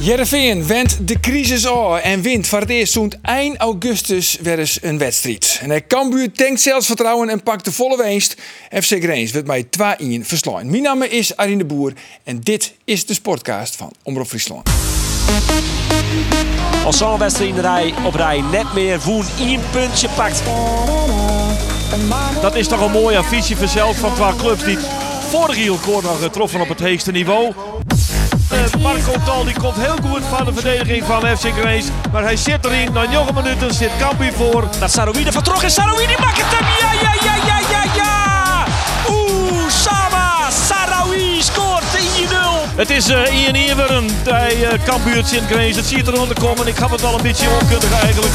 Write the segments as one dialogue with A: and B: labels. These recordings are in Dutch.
A: Jereveen wendt de crisis aan en wint voor het eerst zo'n eind augustus weer eens een wedstrijd. En hij Cambuur tankt zelfs vertrouwen en pakt de volle winst. FC Greens werd mij 2-1 verslaan. Mijn naam is Arine de Boer en dit is de Sportcast van Omroep Friesland.
B: Als zo'n wedstrijd in de rij op rij net meer Woen één puntje pakt. Dat is toch een mooie ambitie voor zelf van twee clubs die vorig jaar nog getroffen op het hoogste niveau. Eh, Marco Tal die komt heel goed van de verdediging van FC Grace. Maar hij zit erin, na 9 minuten zit Kampi voor. Dat Saroui er vertrok en Saroui die maakt het hem. Ja, ja, ja, ja, ja, ja. Oeh, Sama Saroui scoort 1-0. Het is eh, Ian Eweren bij eh Kambuurt sint Grace. Het ziet eronder komen. Ik had het wel een beetje onkundig eigenlijk.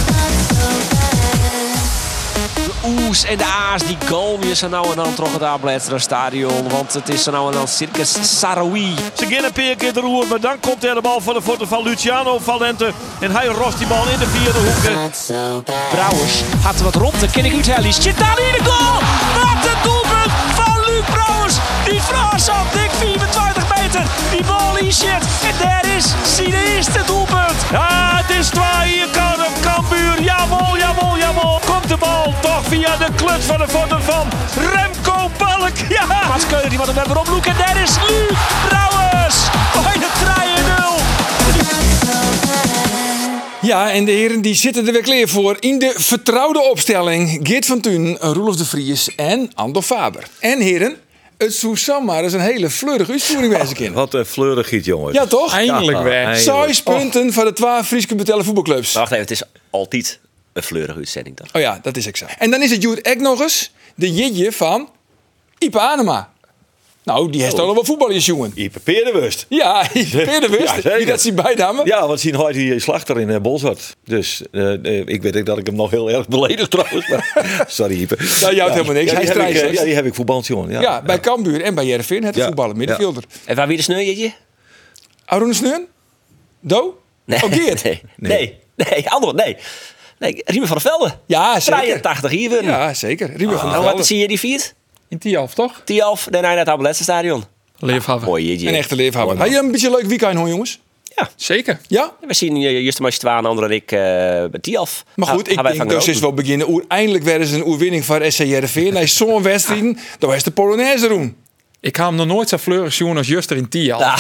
B: Oes en de Aas, die goal is er nou en dan trokken daar naar stadion. Want het is er nou en dan circus Saroui. Ze gaan een paar keer de roer, maar dan komt er de bal van de voeten van Luciano Valente. En hij rost die bal in de vierde hoek. Brouwers had wat rond, dan ken ik Utelli. Zit daar in de goal! Wat een doelpunt van Luc Brouwers. Die Frans op dik 24 meter. Die bal in shit. En daar is zijn eerste doelpunt. Ja, het is 2 hier kan hem. Kambuur, jawel, jawel, jawel. Komt de bal toch via de kluts van de voeten van Remco Balk. Ja! Mats Keulen, die wat hem weer oploeken. En daar is Luc Brouwers. Bij de 3-0.
A: Ja, en de heren die zitten er weer klaar voor in de vertrouwde opstelling. Geert van Thun, Roelof de Vries en Ando Faber. En heren, het Susanne maar is een hele fleurige uitvoering wijze kind.
C: Wat een fleurig giet, jongens.
A: Ja, toch?
D: Eindelijk
C: Ja,
D: weer.
C: eindelijk.
A: Zes punten voor de twee Friese betellen voetbalclubs.
E: Wacht even, het is altijd een fleurige uitzending toch?
A: Oh ja, dat is exact. En dan is het Jude Ek nog eens de jidje van Ipe Anema. Nou, die heeft toch nog wel voetballers, jongen.
C: Ipe Peerdewust.
A: Ja, Peter
C: Ja,
A: Wust,
C: zeker.
A: die dat zien bijnamen.
C: Ja, want zien hoort hier slachter in eh, Bolzwart. Dus eh, eh, ik weet ook dat ik hem nog heel erg beledig trouwens. maar- Sorry, Ipe.
A: Ja, jou Nou, helemaal niks.
C: Ja,
A: Hij
C: die heb ik, eh,
A: is strijdster.
C: Ja, die heb ik voetband, jongen. Ja,
A: Ja, bij Cambuur en bij Jervin het
C: Ja.
A: voetballen middenvelder.
E: En waar weer de sneu, jeetje?
A: Arun Sneun? Do? Oh, Geert?
E: nee. Nee. nee, ander, nee. nee. Riemen van der Velde.
A: Ja, zeker.
E: 83 hier weer.
A: Ja, zeker. Riemen van der
E: en Ah, nou, wat
A: Velde.
E: zie je die viert?
D: In die half, toch?
E: Die af, daarna naar het Abeletsenstadion.
D: Leefhaven.
E: Mooi, jeetje.
A: Een echte leefhouder. Had je een beetje een leuk weekend, hoor, jongens?
D: Zeker.
A: Ja?
E: We zien eh, Justin Maastwaan, ander en ik, eh, met die af.
A: Maar goed, ik denk dat ze eens wel beginnen. Uiteindelijk werden ze een oerwinning van SC Jervin. Hij zo'n wedstrijd, dan was de Polonaise roem.
D: Ik ga hem nog nooit zo fleurig zien als Juster in Tial. Hij,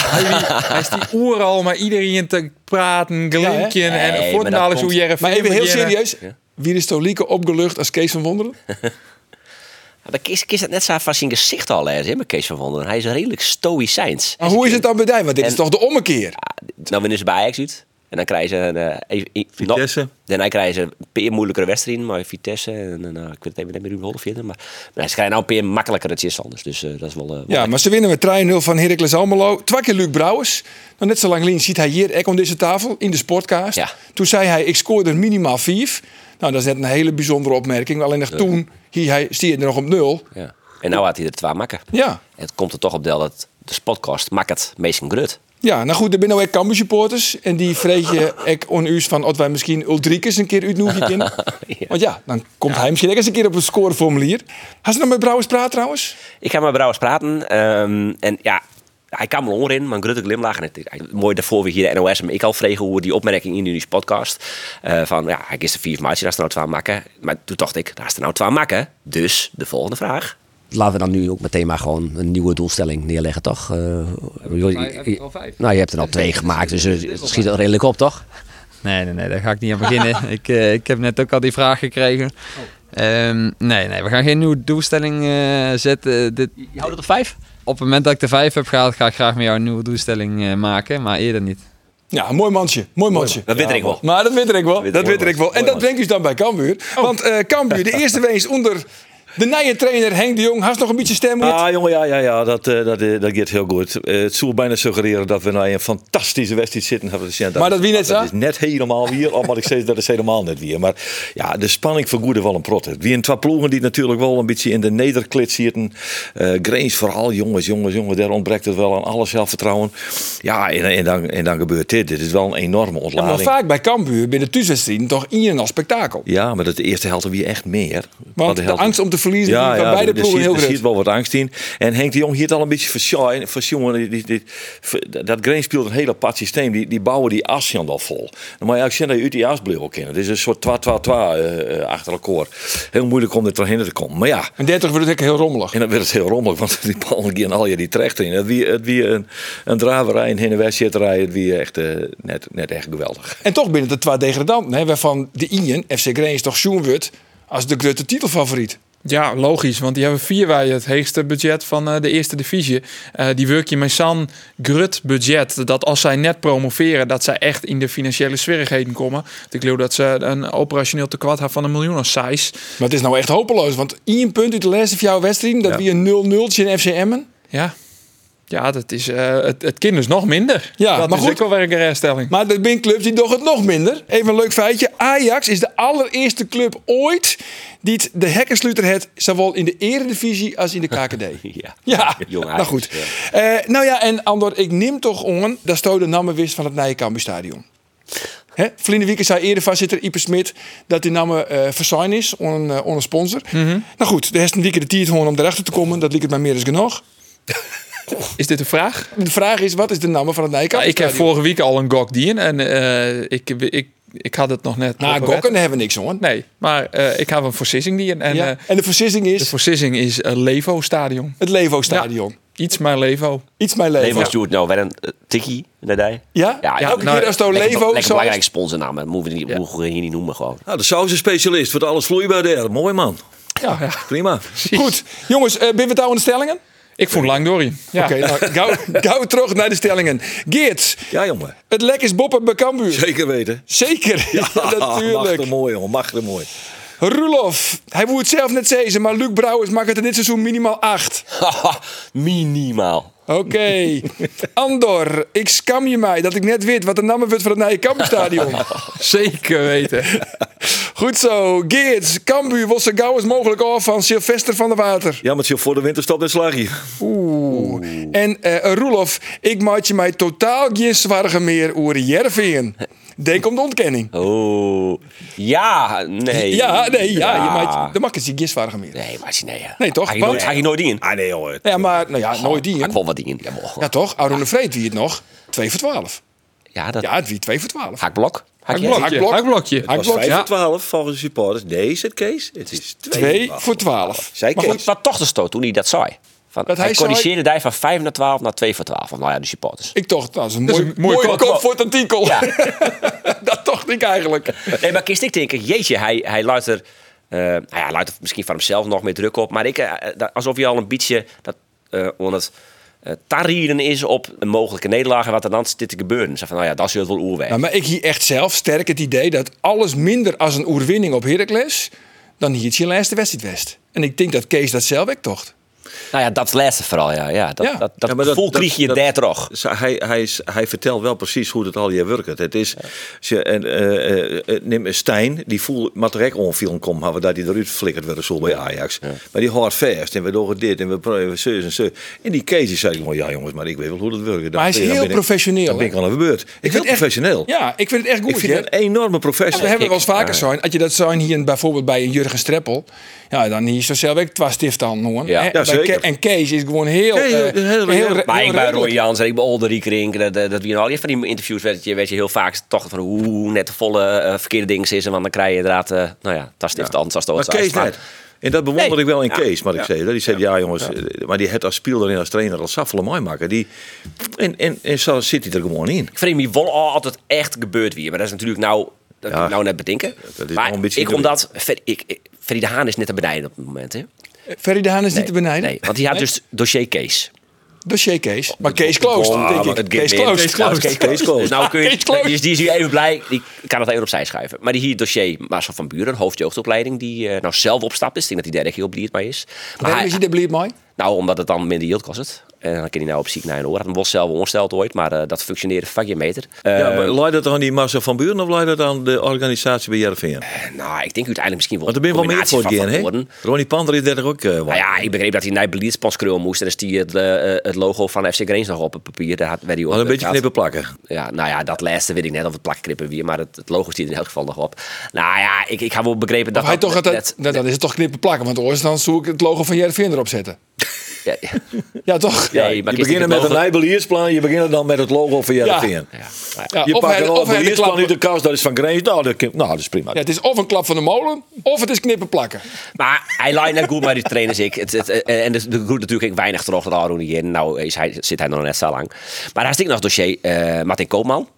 D: hij is die oeral, maar iedereen te praten, glimpje
E: Ja, hè?
D: en
E: Nee,
D: nee,
E: maar dat
D: alles hoe
E: komt-
D: Jerv.
A: Maar even heel serieus. Wie is Tolieke opgelucht als Kees van Wonderen?
E: Dan kies, kies het net zo van zijn gezicht al, hè, maar Kees van Wonderen. Hij is redelijk stoïcijns.
A: Maar hoe is het dan bij Dijn? Want dit is
E: En-
A: toch de ommekeer?
E: Dan winnen ze bij Ajax uit. En dan krijgen ze een... eh, even- i-
C: Vitesse.
E: Daarna krijgen ze een peer moeilijkere wedstrijd. Maar Vitesse en... eh, nou, ik weet het even niet meer hoe het vinden. Maar nou, ze krijgen nou een peer makkelijker. Het is anders. Dus eh, dat is wel... eh, wel
A: Ja, maar ze winnen met 3-0 van Heracles Almelo. Twee keer Luc Brouwers. Nou, net zo lang lien ziet hij hier ook aan deze tafel in de sportcast.
E: Ja.
A: Toen zei hij, ik scoorde er minimaal vijf. Nou, dat is net een hele bijzondere opmerking. Alleen nog toen, hier, hij stierde er nog op nul.
E: Ja. En nou had hij er twee makken.
A: Ja.
E: Het komt er toch op deel dat de spotkost makkert meest een grut.
A: Ja, nou goed, er zijn nou ook Cambuur supporters. En die vreet je ook onuus van, of wij misschien Ulrikes een keer uitnodigen kunnen.
E: Ja.
A: Want ja, dan komt hij misschien ook eens een keer op het scoreformulier. Had ze nog met Brouwers praat trouwens?
E: Ik ga met Brouwers praten. ehm, en ja, hij kan wel in, maar een grote glimlach. En het, is eigenlijk mooi daarvoor weer hier de NOS. Maar ik al vregen hoe die opmerking in jullie podcast. eh, van ja, hij is de vier maatje, daar is er nou twee makken. Maar toen dacht ik, daar is er nou twee makken. Dus de volgende vraag.
F: Laten we dan nu ook meteen maar gewoon een nieuwe doelstelling neerleggen, toch? Eh, jullie- Nou, je hebt er al twee gemaakt, dus eh, het schiet al redelijk op, toch?
G: Nee, nee, nee, daar ga ik niet aan beginnen. ik, eh, ik heb net ook al die vraag gekregen. Ehm, nee, nee, we gaan geen nieuwe doelstelling eh, zetten. Dit,
E: Je houdt het op vijf?
G: op het moment dat ik de vijf heb gehaald, ga ik graag met jou een nieuwe doelstelling eh, maken, maar eerder niet.
A: Ja, een mooi mansje. Mooi mansje.
E: Dat weet ik wel.
A: Maar dat weet ik wel. Dat
E: Mooi
A: weet ik wel. Oh.
E: mansje.
A: en dat brengt u dan bij Cambuur. Want eh Cambuur, de eerste wees onder De nieuwe trainer Henk de Jong, has nog een beetje stem.
C: Ah, jongen, ja, ja, ja, dat, eh, dat, eh, dat gaat heel goed. Eh, het zou bijna suggereren dat we naar een fantastische wedstrijd zitten. hebben. Dus ja,
A: Maar dat wie net zo?
C: Dat is net helemaal weer, al maar ik zeg dat is helemaal net weer. Maar ja, de spanning vergoedde wel een prot. Wie een twee ploegen die natuurlijk wel een beetje in de nederklit zitten. Eh Grains vooral, jongens, jongens, jongens, daar ontbreekt het wel aan alles zelfvertrouwen. Ja, en, en, dan, en dan gebeurt dit. Dit is wel een enorme
A: Ja, maar
C: ontlading.
A: vaak bij Cambuur binnen thuiswedstrijden toch in en al spektakel.
C: Ja, maar dat de eerste helft weer echt meer.
A: Want de
C: helft-
A: angst om te verliezen van beide
C: er
A: ploegen
C: zit-
A: heel
C: er
A: groot.
C: zit wel wat angst in. En Henk de Jong hier al een beetje verschoon. verschoon die, die, die- ver- dat Green speelt een heel apart systeem. Die, die bouwen die as dan wel vol. Dan moet je eigenlijk zien dat je uit die as blijft kennen. Het is een soort twa twa twa eh, eh, achter elkaar. Heel moeilijk om er doorheen te komen. Maar ja,
A: En 30 wordt het ook heel rommelig.
C: en dan werd het heel rommelig, want die bal ging al je die trechter in. Het wie, het wie een, een draverij, een heen en wedstrijdrij. Het wie echt eh, net, net echt geweldig.
A: En toch binnen de twee degradanten, hè, waarvan de Ien, FC Greens, toch Sjoen wordt als de grote titelfavoriet.
D: Ja, logisch, want die hebben vier wij het hoogste budget van eh, de eerste divisie. Eh, die werk je met San Grut budget. Dat als zij net promoveren, dat zij echt in de financiële zwierigheden komen. Want Ik geloof dat ze een operationeel tekort hebben van een miljoen of size.
A: Maar het is nou echt hopeloos, want Ien punt uit de laatste van jouw wedstrijd, dat wie een 0-0 in FC Emmen.
D: Ja, ja dat is, eh, het, het kind is nog minder.
A: Ja,
D: dat
A: maar
D: is
A: goed.
D: ook wel weer een herstelling.
A: Maar de zijn clubs die doen het nog minder. Even een leuk feitje. Ajax is de allereerste club ooit die het de hekkensluiter het, zowel in de eredivisie als in de KKD.
E: Ja.
A: Ja,
E: Jong
A: nou
E: Ajax,
A: goed. Eh, nou ja, en Andor, ik neem toch ongen dat Sto de namen wist van het Nijenkambu Stadion. Hè? Verleden weekend zei eerder voorzitter Ipe Smit dat die namen eh verzuin is on een, eh, on een sponsor. Nou goed, de heeft een weekend de tiert gewoon om erachter te komen. Dat liep het mij meer dan genoeg.
D: Is dit een vraag?
A: De vraag is, wat is de namen van het
D: Ja,
A: Nijenkambu
D: ik heb vorige week al een gok die in en eh, ik, ik, ik had het nog net.
A: Na
D: over
A: Nou, gokken
D: wet.
A: hebben we niks, hoor.
D: Nee, maar eh, ik heb een voorzissing die in. En
A: ja.
D: eh,
A: en de versissing is...
D: de voorzissing is een Levo Stadion.
A: Het Levo Stadion.
D: Iets maar Levo.
A: Iets mijn leven.
E: Nee, maar Stuart, nou, weer een eh, tikkie naar die.
A: Ja?
E: Ja, ja,
A: Elke
D: nou,
A: keer als het
E: Lekker,
A: Levo
E: lekker
A: zo
E: belangrijk sponsornaam. Dat moeten we, niet, mogen we hier niet noemen gewoon.
C: Nou, de saus is specialist, wordt alles vloeibaar daar. Mooi man.
D: Ja, ja.
C: Prima.
A: Goed, jongens, eh ben we het nou aan de stellingen?
D: Ik voel lang door je. Ja.
A: Oké, nou, gauw, gauw terug naar de stellingen. Geert,
C: Ja, jongen.
A: het lek is boppen bij Cambuur.
C: Zeker weten.
A: Zeker, ja, natuurlijk.
C: Machtig mooi, jongen. Machtig mooi.
A: Roelof, hij moet het zelf net zeggen, maar Luc Brouwers maakt het in dit seizoen minimaal acht.
E: Minimaal.
A: Oké. Andor, ik scam je mij dat ik net weet wat de namen wordt van het Nije Kampstadion.
D: Zeker weten.
A: Goed zo. Geert, Cambuur was zo gauw als mogelijk af van Sylvester van der Water.
C: Ja, maar het is voor de winterstop net slag hier.
A: En eh Roelof, ik maak je mij totaal geen zorgen meer over Jervingen. Denk om de ontkenning.
E: Oh. Ja, nee.
A: Ja, nee, ja, je maakt, dan mag je geen zorgen meer.
E: Nee, maar nee. Ja.
A: Nee, toch?
E: Ga je nooit,
A: Want-
E: ga je nooit in?
C: Ah, nee, hoor.
A: Ja, maar nou ja, nooit die.
E: Ga
A: hè?
E: ik wel wat in. Ja, mogen.
A: Ja, toch? Aaron de Vreed wie het nog. 2 voor 12.
E: ja dat...
A: Ja, het wie 2 voor 12.
E: Haakblok.
D: Hakblokje.
E: Haakblok.
A: Hakblok.
D: Hakblokje.
C: Het was
A: Hakblok,
C: 5
A: ja.
C: voor 12 volgens de supporters. Nee, is het Kees? Het is 2
A: 2 voor 12.
C: Zij
A: Maar
C: Kees.
A: goed,
E: Maar toch de stoot toen hij dat zei. Van,
A: Dat
E: hij
A: hij zei-
E: corrigeerde daar van 5 naar 12 naar 2 voor 12. Van, nou ja, de supporters.
A: ik toch, dat is een
D: is
A: mooi,
D: een mooie
A: mooie
D: kop.
A: kop voor het artikel.
E: Ja.
A: dat toch ik eigenlijk.
E: Nee, maar kist ik denk, jeetje, hij, hij luidt er... eh, nou ja, hij luidt er misschien van hemzelf nog meer druk op. Maar ik, eh, eh, alsof hij al een beetje dat, eh on het eh, tarieren is op een mogelijke nederlaag. En wat er dan zit te gebeuren. Zeg van, nou ja, dat is heel veel oerweg.
A: Nou, maar ik hier echt zelf sterk het idee dat alles minder als een oerwinning op Heracles... dan hier het je laatste wedstrijd west. En ik denk dat Kees dat zelf ook tocht.
E: Nou ja, dat laatste vooral, ja. ja dat
A: Ja.
E: dat, dat
C: Ja, maar dat-
E: gevoel
C: dat-
E: kreeg je
C: dat-
E: daar toch.
C: Ze- Dus Hij, hij, is- hij vertelt wel precies hoe dat al hier werkt. Het is, ze, en, eh, eh, neem een Stijn, die voelt Matrek onfilm komen, maar dat hij eruit flikkert werd zo bij Ajax. Maar die hard vast en we doen dit en we proberen zo en zo. En die Kees die zei gewoon, ja jongens, maar ik weet wel hoe dat werkt. Dan-
A: hij is
C: dan
A: heel
C: ben ik-
A: professioneel,
C: Dan ben ik
A: hè?
C: al aan de beurt. Ik vind
A: vind
C: het
A: echt-
C: professioneel.
A: Ja, ik vind het echt goed.
C: Ik vind
A: hè?
C: het een enorme
A: Ja, we
C: professioneel.
A: hebben wel eens vaker zo'n. Als je dat zo'n hier in- bijvoorbeeld bij een Jurgen Streppel. Ja, dan hier zo zelf ik twa stift aan hoor.
E: Ja.
A: Hè?
C: Ja,
A: Bij
C: zeker.
A: Ke- en Kees is gewoon heel.
C: Kees,
A: eh,
C: heel- heel-
A: re-
E: Maar ik bij
A: redelijk.
E: Roy Jans en ik bij Olderik Rink, dat, dat, dat wie al je van die interviews werd je, werd je heel vaak toch van hoe net de volle eh, verkeerde ding is. En want dan krijg je inderdaad, eh, nou ja, dat is het anders als de
C: Maar
E: oorzaak.
C: Kees net. En dat bewonder
E: Nee.
C: ik wel in
E: Ja.
C: Kees, maar ik zei dat. Die zei, ja, jongens, eh, maar die het als speelder en als trainer als saffelen mooi maken. Die, en, en, en zo zit hij er gewoon in.
E: Ik vreemd me wel al altijd Oh, echt gebeurd weer. Maar dat is natuurlijk nou, dat
C: Ja.
E: kan ik nou net bedenken.
C: Dat is
E: maar
C: wel een beetje
E: ik omdat, Fer, ik, ik- Ferry de Haan is net te benijden op het moment hè.
A: Ferry de Haan is niet te benijden.
E: Nee, want die had dus dossier Kees.
A: dossier Kees. Maar Kees Kloos,
E: Oh,
A: denk
E: maar
A: ik.
E: het gaat
A: Kees
E: weer.
A: Kloos.
E: Kees Kloos. Kees Kloos. Dus nou kun je,
A: Kees Kloos.
E: die, is, die is hier even blij. Die kan het even opzij schuiven. Maar die hier dossier Marcel van Buren, hoofdjeugdopleiding, die eh, nou zelf opstapt is. Ik denk dat hij derde keer op die het maar is. Maar
A: Waarom
E: hij-
A: is hij er blij mee?
E: nou, omdat het dan minder yield kost. het. En dan kan hij nou op ziek naar een oor. Had hem wel zelf ongesteld ooit, maar eh, dat functioneerde fuck je meter. Eh,
C: Ja, maar leidt dat aan die Marcel van Buren of leidt dat aan de organisatie bij Jervin?
E: nou, ik denk uiteindelijk misschien wel
C: Want er ben je wel meer
E: combinatie
C: voor
E: van
C: geen, hè?
E: factoren.
C: Ronnie Pander is 30 ook eh wel.
E: Nou ja, ik begreep dat hij naar Beliedspans krul moest. En dus die het, eh, het logo van FC Greens nog op het papier. Daar had, werd hij
C: Wel een beetje
E: gehad.
C: knippen plakken.
E: Ja, nou ja, dat laatste weet ik net of het plakknippen weer, maar het, het logo zit er in elk geval nog op. Nou ja, ik, ik heb wel begrepen dat
A: Of hij toch het,
E: net-
A: nou, dan is het toch knippen plakken, want anders dan zoek ik het logo van Jervin erop zetten.
E: ja, ja.
A: Ja, toch?
E: Ja,
C: je
E: maar
C: begint
E: kijk,
C: met
E: het
C: een
E: logo-
C: nijbeliersplan, je begint dan met het logo van Jervin.
E: Ja, maar ja.
A: Ja,
C: Je
A: of
C: pakt
A: hij,
C: een
A: of hij de klap,
C: nijbeliersplan uit de
A: ja,
C: kast, dat is van Greens. Nou, dat, kan- nou, dat is prima.
A: het is of een klap van de molen, of het is knippen plakken.
E: Maar hij lijkt net goed maar die trainers ik. Het, het, eh, en dus er groeit natuurlijk ook weinig terug naar Rooney in. Nou is hij, zit hij nog net zo lang. Maar daar zit nog het dossier eh Martin Koopman.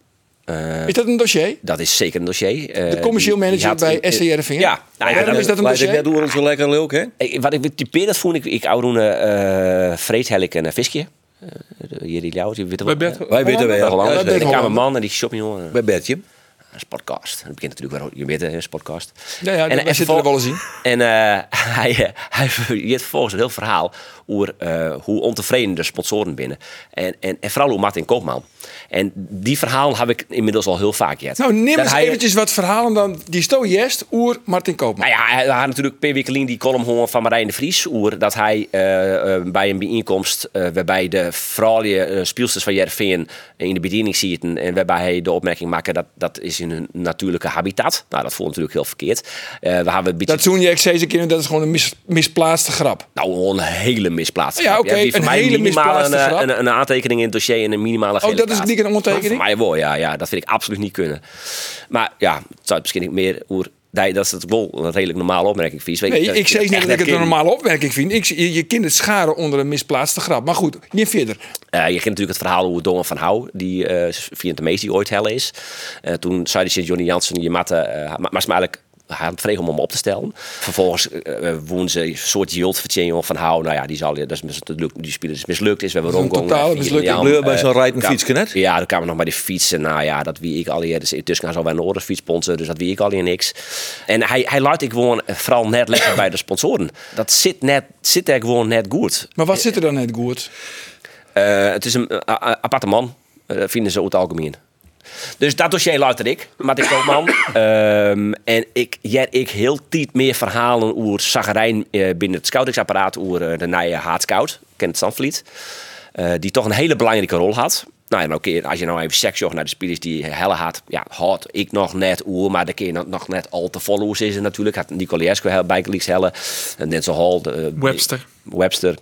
A: Is dat een dossier?
E: Dat is zeker een dossier. Eh,
A: De commercieel
E: die- die
A: manager
E: had
A: bij E
E: in- in-
A: SCRV.
E: Ja, nou ja,
A: Waarom
E: dat
A: is dat een
C: Leidt het
A: dossier?
C: net door zo lekker leuk, hè?
E: Ik- wat ik typeer, dat vond ik, ik oude eh vreet ik een visje. Eh, Hier die jou, die witte
D: Bij Bert-
C: Wij weten
E: Ja,
C: wel.
E: Hollanders.
C: Ja,
E: En
C: zeker.
E: ik kwam een man en die shoppingjongen. Dat
C: Bij Bertje.
E: is een podcast. Dat begint natuurlijk wel, je weet het, hè, is een podcast.
A: Ja, ja, wij
E: hij
A: zitten er wel eens in.
E: En eh, hij, eh, hij heeft vervolgens een heel verhaal over eh, hoe ontevreden de sponsoren binnen. En, en, en vooral hoe Martin Koopman. En die verhaal heb ik inmiddels al heel vaak gehad.
A: Nou, neem
E: Dat
A: eens
E: hij-
A: eventjes wat verhalen dan. Die sto jest, oer Martin Koopman.
E: Nou ja, we hadden natuurlijk per Wikkelien die column horen van Marijn de Vries. Oer dat hij eh, eh, bij een bijeenkomst eh, waarbij de vrouwelijke eh, speelsters van Jervin in de bediening zitten. En waarbij hij de opmerking maakte dat dat is in hun natuurlijke habitat. Nou, dat voelt natuurlijk heel verkeerd. Eh, we hebben een beetje...
A: Dat zoen je steeds een keer en dat is gewoon een mis- misplaatste grap.
E: Nou, een hele misplaatst.
A: Ja, oké,
E: Die voor
A: een
E: mij
A: hele
E: minimaal
A: misplaatste
E: een, eh,
A: grap. Oh,
E: een, een aantekening in het dossier en een minimale gele
A: dat is
E: kaart.
A: niet een ondertekening?
E: Voor mij wel, ja, ja. Dat vind ik absoluut niet kunnen. Maar ja, het zou misschien niet meer... Oer, dat is het wel een redelijk normale opmerking, Vries. Weet je,
A: Nee, ik zeg niet
E: echt
A: dat ik het een
E: kind-
A: normale opmerking vind. Ik, je, je kind het scharen onder een misplaatste grap. Maar goed, niet verder.
E: Eh, je kent natuurlijk het verhaal hoe Dongen van Hou, die eh Vietnamees die ooit hel is. Eh, toen zei hij Johnny Jansen, je matte, eh, ma- maar ze me eigenlijk hij had vregen om hem op te stellen. Vervolgens eh eh, woon ze een soort jilt van van Hou. Nou ja, die zal je, dat is mislukt, die speler is mislukt, is we hebben
A: een
E: rondgegaan.
A: totale
E: Eh,
A: mislukking.
E: Vietnam,
C: Bleur bij
E: eh,
C: zo'n rijdend
E: kwam-
C: fietsje net.
E: Ja, dan kwamen we nog bij de fietsen. Nou ja, dat wie ik al hier. Dus intussen gaan ze al bij een andere fiets sponsoren, dus dat wie ik al hier niks. En hij, hij laat ik gewoon eh, vooral net lekker bij de sponsoren. Dat zit, net, zit er gewoon net goed.
A: Maar wat zit er dan net goed?
E: Eh, het is een eh, a- a- aparte man, eh, vinden ze over het algemeen. Dus dat dossier luister ik, maar ik Koopman. Ehm en ik jij ik heel tiet meer verhalen over Zagarijn binnen het scoutingsapparaat, over eh, de nieuwe haatscout, Kent Sandvliet, eh, die toch een hele belangrijke rol had. Nou ja, nou kun je- als je nou even seks zocht naar de spelers die helle had, ja, had ik nog net oer, maar de keer nog- nog net al te followers is er natuurlijk. Had Nicolescu bij Leaks helle, en Denzel Hall, de, eh,
D: Webster.
E: Webster.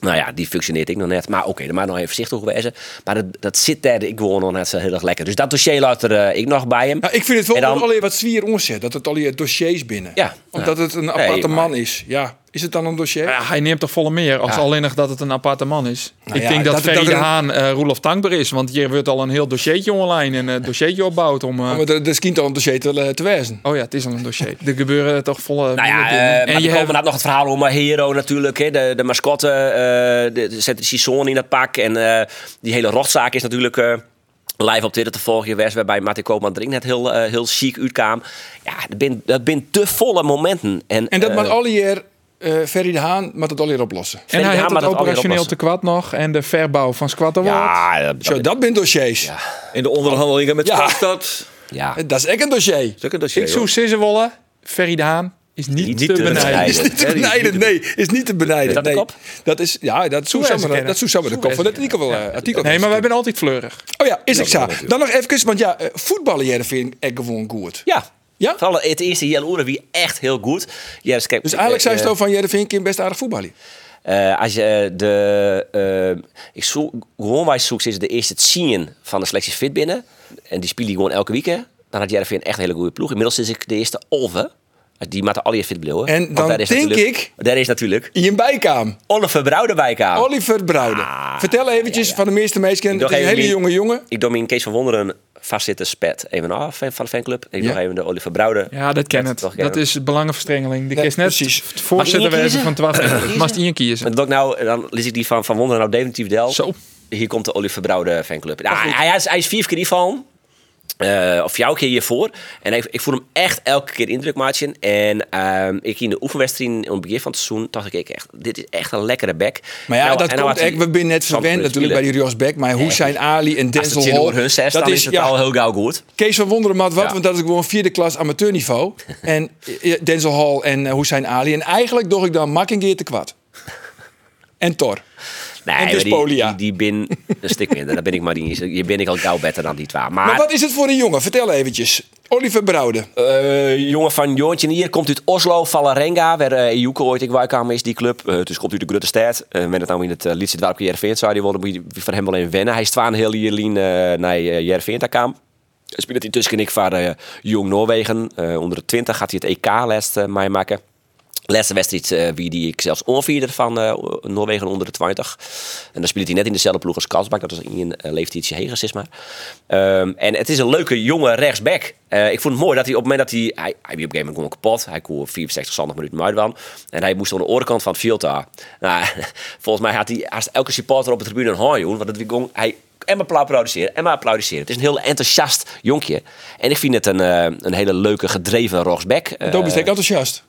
E: Nou ja, die functioneert ik nog net. Maar oké, dan maar nog even voorzichtig wezen. Maar dat, dat zit daar, ik gewoon nog net zo heel erg lekker. Dus dat dossier laat er eh, ik nog bij hem.
A: Ja, Nou, ik vind het wel
E: En dan-
A: alleen wat zwier omzet. Dat het alleen dossiers binnen.
E: Ja.
A: Omdat het een aparte man is. Ja. Is het dan een dossier?
D: Ja, hij neemt toch volle meer als alleen nog dat het een aparte man is. ik
A: ja,
D: denk dat,
A: dat-
D: Ferry
A: dat
D: de
A: er-
D: Haan eh Roelof Tankber is. Want hier wordt al een heel dossiertje online en een dossiertje opbouwd om... eh,
A: Maar dat dat is kind al een dossier te, eh, te wijzen.
D: Oh ja, het is al een dossier. Er gebeuren toch volle...
E: nou ja,
D: dingen.
E: eh, maar
D: en je
E: je
D: hebt...
E: komen nog het verhaal om Hero natuurlijk. Hè, de, de mascotte, eh, de, de, zet de Sison in dat pak. En eh, die hele rotzaak is natuurlijk... eh, Live op Twitter te volgen geweest, waarbij Martin Koopman er net heel, eh, heel chic uitkwam. Ja, dat bin- dat bin te volle momenten. En,
A: En dat
E: eh,
A: mag al hier, eh, Ferry de Haan, mag het al hier oplossen.
D: En hij
E: Ja,
D: had
E: maar
D: het
E: dat alweer
D: operationeel te
E: oplossen.
D: kwad nog. En de verbouw van Squatterwoord.
E: Ja, dat,
A: Zo, dat zijn dossiers.
C: In de onderhandelingen met
A: Ja.
C: Stadstad.
E: ja.
A: Dat is echt een dossier.
C: Dat is ook een dossier,
D: Ik zoek
C: hoor.
D: Sissewolle. Ferry de Haan is niet,
E: Niet
D: te,
E: te
D: benijden.
E: benijden.
A: Is niet te
C: Ja, die is
A: benijden, nee. Is niet te benijden.
E: Is dat de
A: nee.
E: kop?
A: Dat is, ja, dat is
D: Hoe wij ze
A: Susanne,
D: kennen.
A: dat Susanne de
D: Hoe
A: kop van
D: wij
A: dat artikel wel. eh, artikel
D: Nee, maar wij zijn altijd fleurig.
A: Oh ja, is ik zo. Dan nog even, want ja, eh, voetballen hier vind ik echt gewoon goed.
E: Ja.
A: Ja?
E: Vooral het eerste hier Oeren wie echt heel goed. Ja, dus, kijk,
A: Dus eigenlijk
E: eh,
A: zijn ze van Jereveen kind best aardig voetballen.
E: eh, eh, als je de. eh, ik zoek, gewoon wij zoek is de eerste zien van de selecties fit binnen. En die spelen gewoon elke week. hè. Dan had Jervin echt een hele goede ploeg. Inmiddels is ik de eerste Olve. Die maakt al je fit blijven.
A: En
E: Want
A: dan
E: daar is
A: denk
E: natuurlijk-
A: ik-
E: Daar is natuurlijk
A: In bijkaam,
E: Oliver Brouwerwijk
A: Oh.
E: aan. Ah,
A: Oliver Brouwde. Vertel eventjes van de meeste meisjes,
E: Nog
A: een
E: even
A: hele
E: wie-
A: jonge jongen.
E: Ik domin Kees van Wonderen vastzitten spet even af van de fanclub. Ik
A: Ja.
E: nog even de Oliver Brouwer.
D: Ja, dat ken
E: Net,
D: het.
E: toch, ja.
D: Dat is belangenverstrengeling. Die
A: Ja,
D: is net
A: precies.
D: het voorzitter
E: Mag je
D: wezen van 12. Mast in kiezen.
E: Maar dat ik nou, dan lees ik die van Van Wonder nou definitief del.
D: Zo.
E: Hier komt de Oliver Brouwer fanclub. Nou, hij, hij is, hij is vier keer van. Eh, of jouw keer hiervoor. En ik, ik voel hem echt elke keer indruk maken. En ehm, ik in de oefenwedstrijd in het begin van het seizoen dacht ik ik echt, dit is echt een lekkere back.
A: Maar ja,
E: Nou,
A: dat
E: en nou
A: komt
E: had hij-
A: echt. We zijn net
E: Zandvoort
A: verwend natuurlijk bij
E: spelen.
A: die Rios Beck. Maar hoe zijn Ali en
E: Als het
A: Denzel
E: zin
A: Hall...
E: door hun zes,
A: dat
E: dan
A: is,
E: is het
A: ja,
E: al heel gauw goed.
A: Kees van Wonderen maakt wat,
E: Ja.
A: want dat is gewoon vierde klas amateurniveau. en eh, Denzel Hall en hoe zijn Ali. En eigenlijk doch ik dan Makkingeer te kwad. En Tor.
E: Nee,
A: En
E: maar
A: Despolia.
E: Die, die, die bin een stuk minder. Daar ben ik maar niet eens. Je ben ik al gauw beter dan die twee. Maar,
A: Maar wat is het voor een jongen? Vertel eventjes. Oliver Brouwde.
E: eh, jongen van Joontje hier komt uit Oslo, Valarenga, waar eh Iuke ooit ik kwam is die club. Eh, dus komt uit de grote stad. Eh met het nou in het uh, Lietse dorpje Jerveen zou die worden, moet je van hem wel even wennen. Hij is twaalf heel hier lien, eh, naar uh, Jerveen te kwam. Speelt hij tussen en ik van eh, Jong Noorwegen. Eh, onder de 20 gaat hij het EK les eh, mij maken. Laatste wedstrijd eh, wie die ik zelfs onvierder van eh, Noorwegen onder de 20. En dan speelt hij net in dezelfde ploeg als Kalsbak. Dat is in eh leeftijd ietsje heger, is maar. Ehm, en het is een leuke jonge rechtsback. Eh, ik vond het mooi dat hij op het moment dat hij... Hij, hij wie op een gegeven moment gewoon kapot. Hij kon 64, 60 minuten uit waren. En hij moest aan de orenkant van het veld daar. Nou, volgens mij had hij haast elke supporter op de tribune een handjoen. Want het, was gewoon- hij en maar applaudisseren, en maar applaudisseren. Het is een heel enthousiast jonkje. En ik vind het een, eh, een hele leuke, gedreven rechtsback. Eh,
A: Tobias Dek, enthousiast.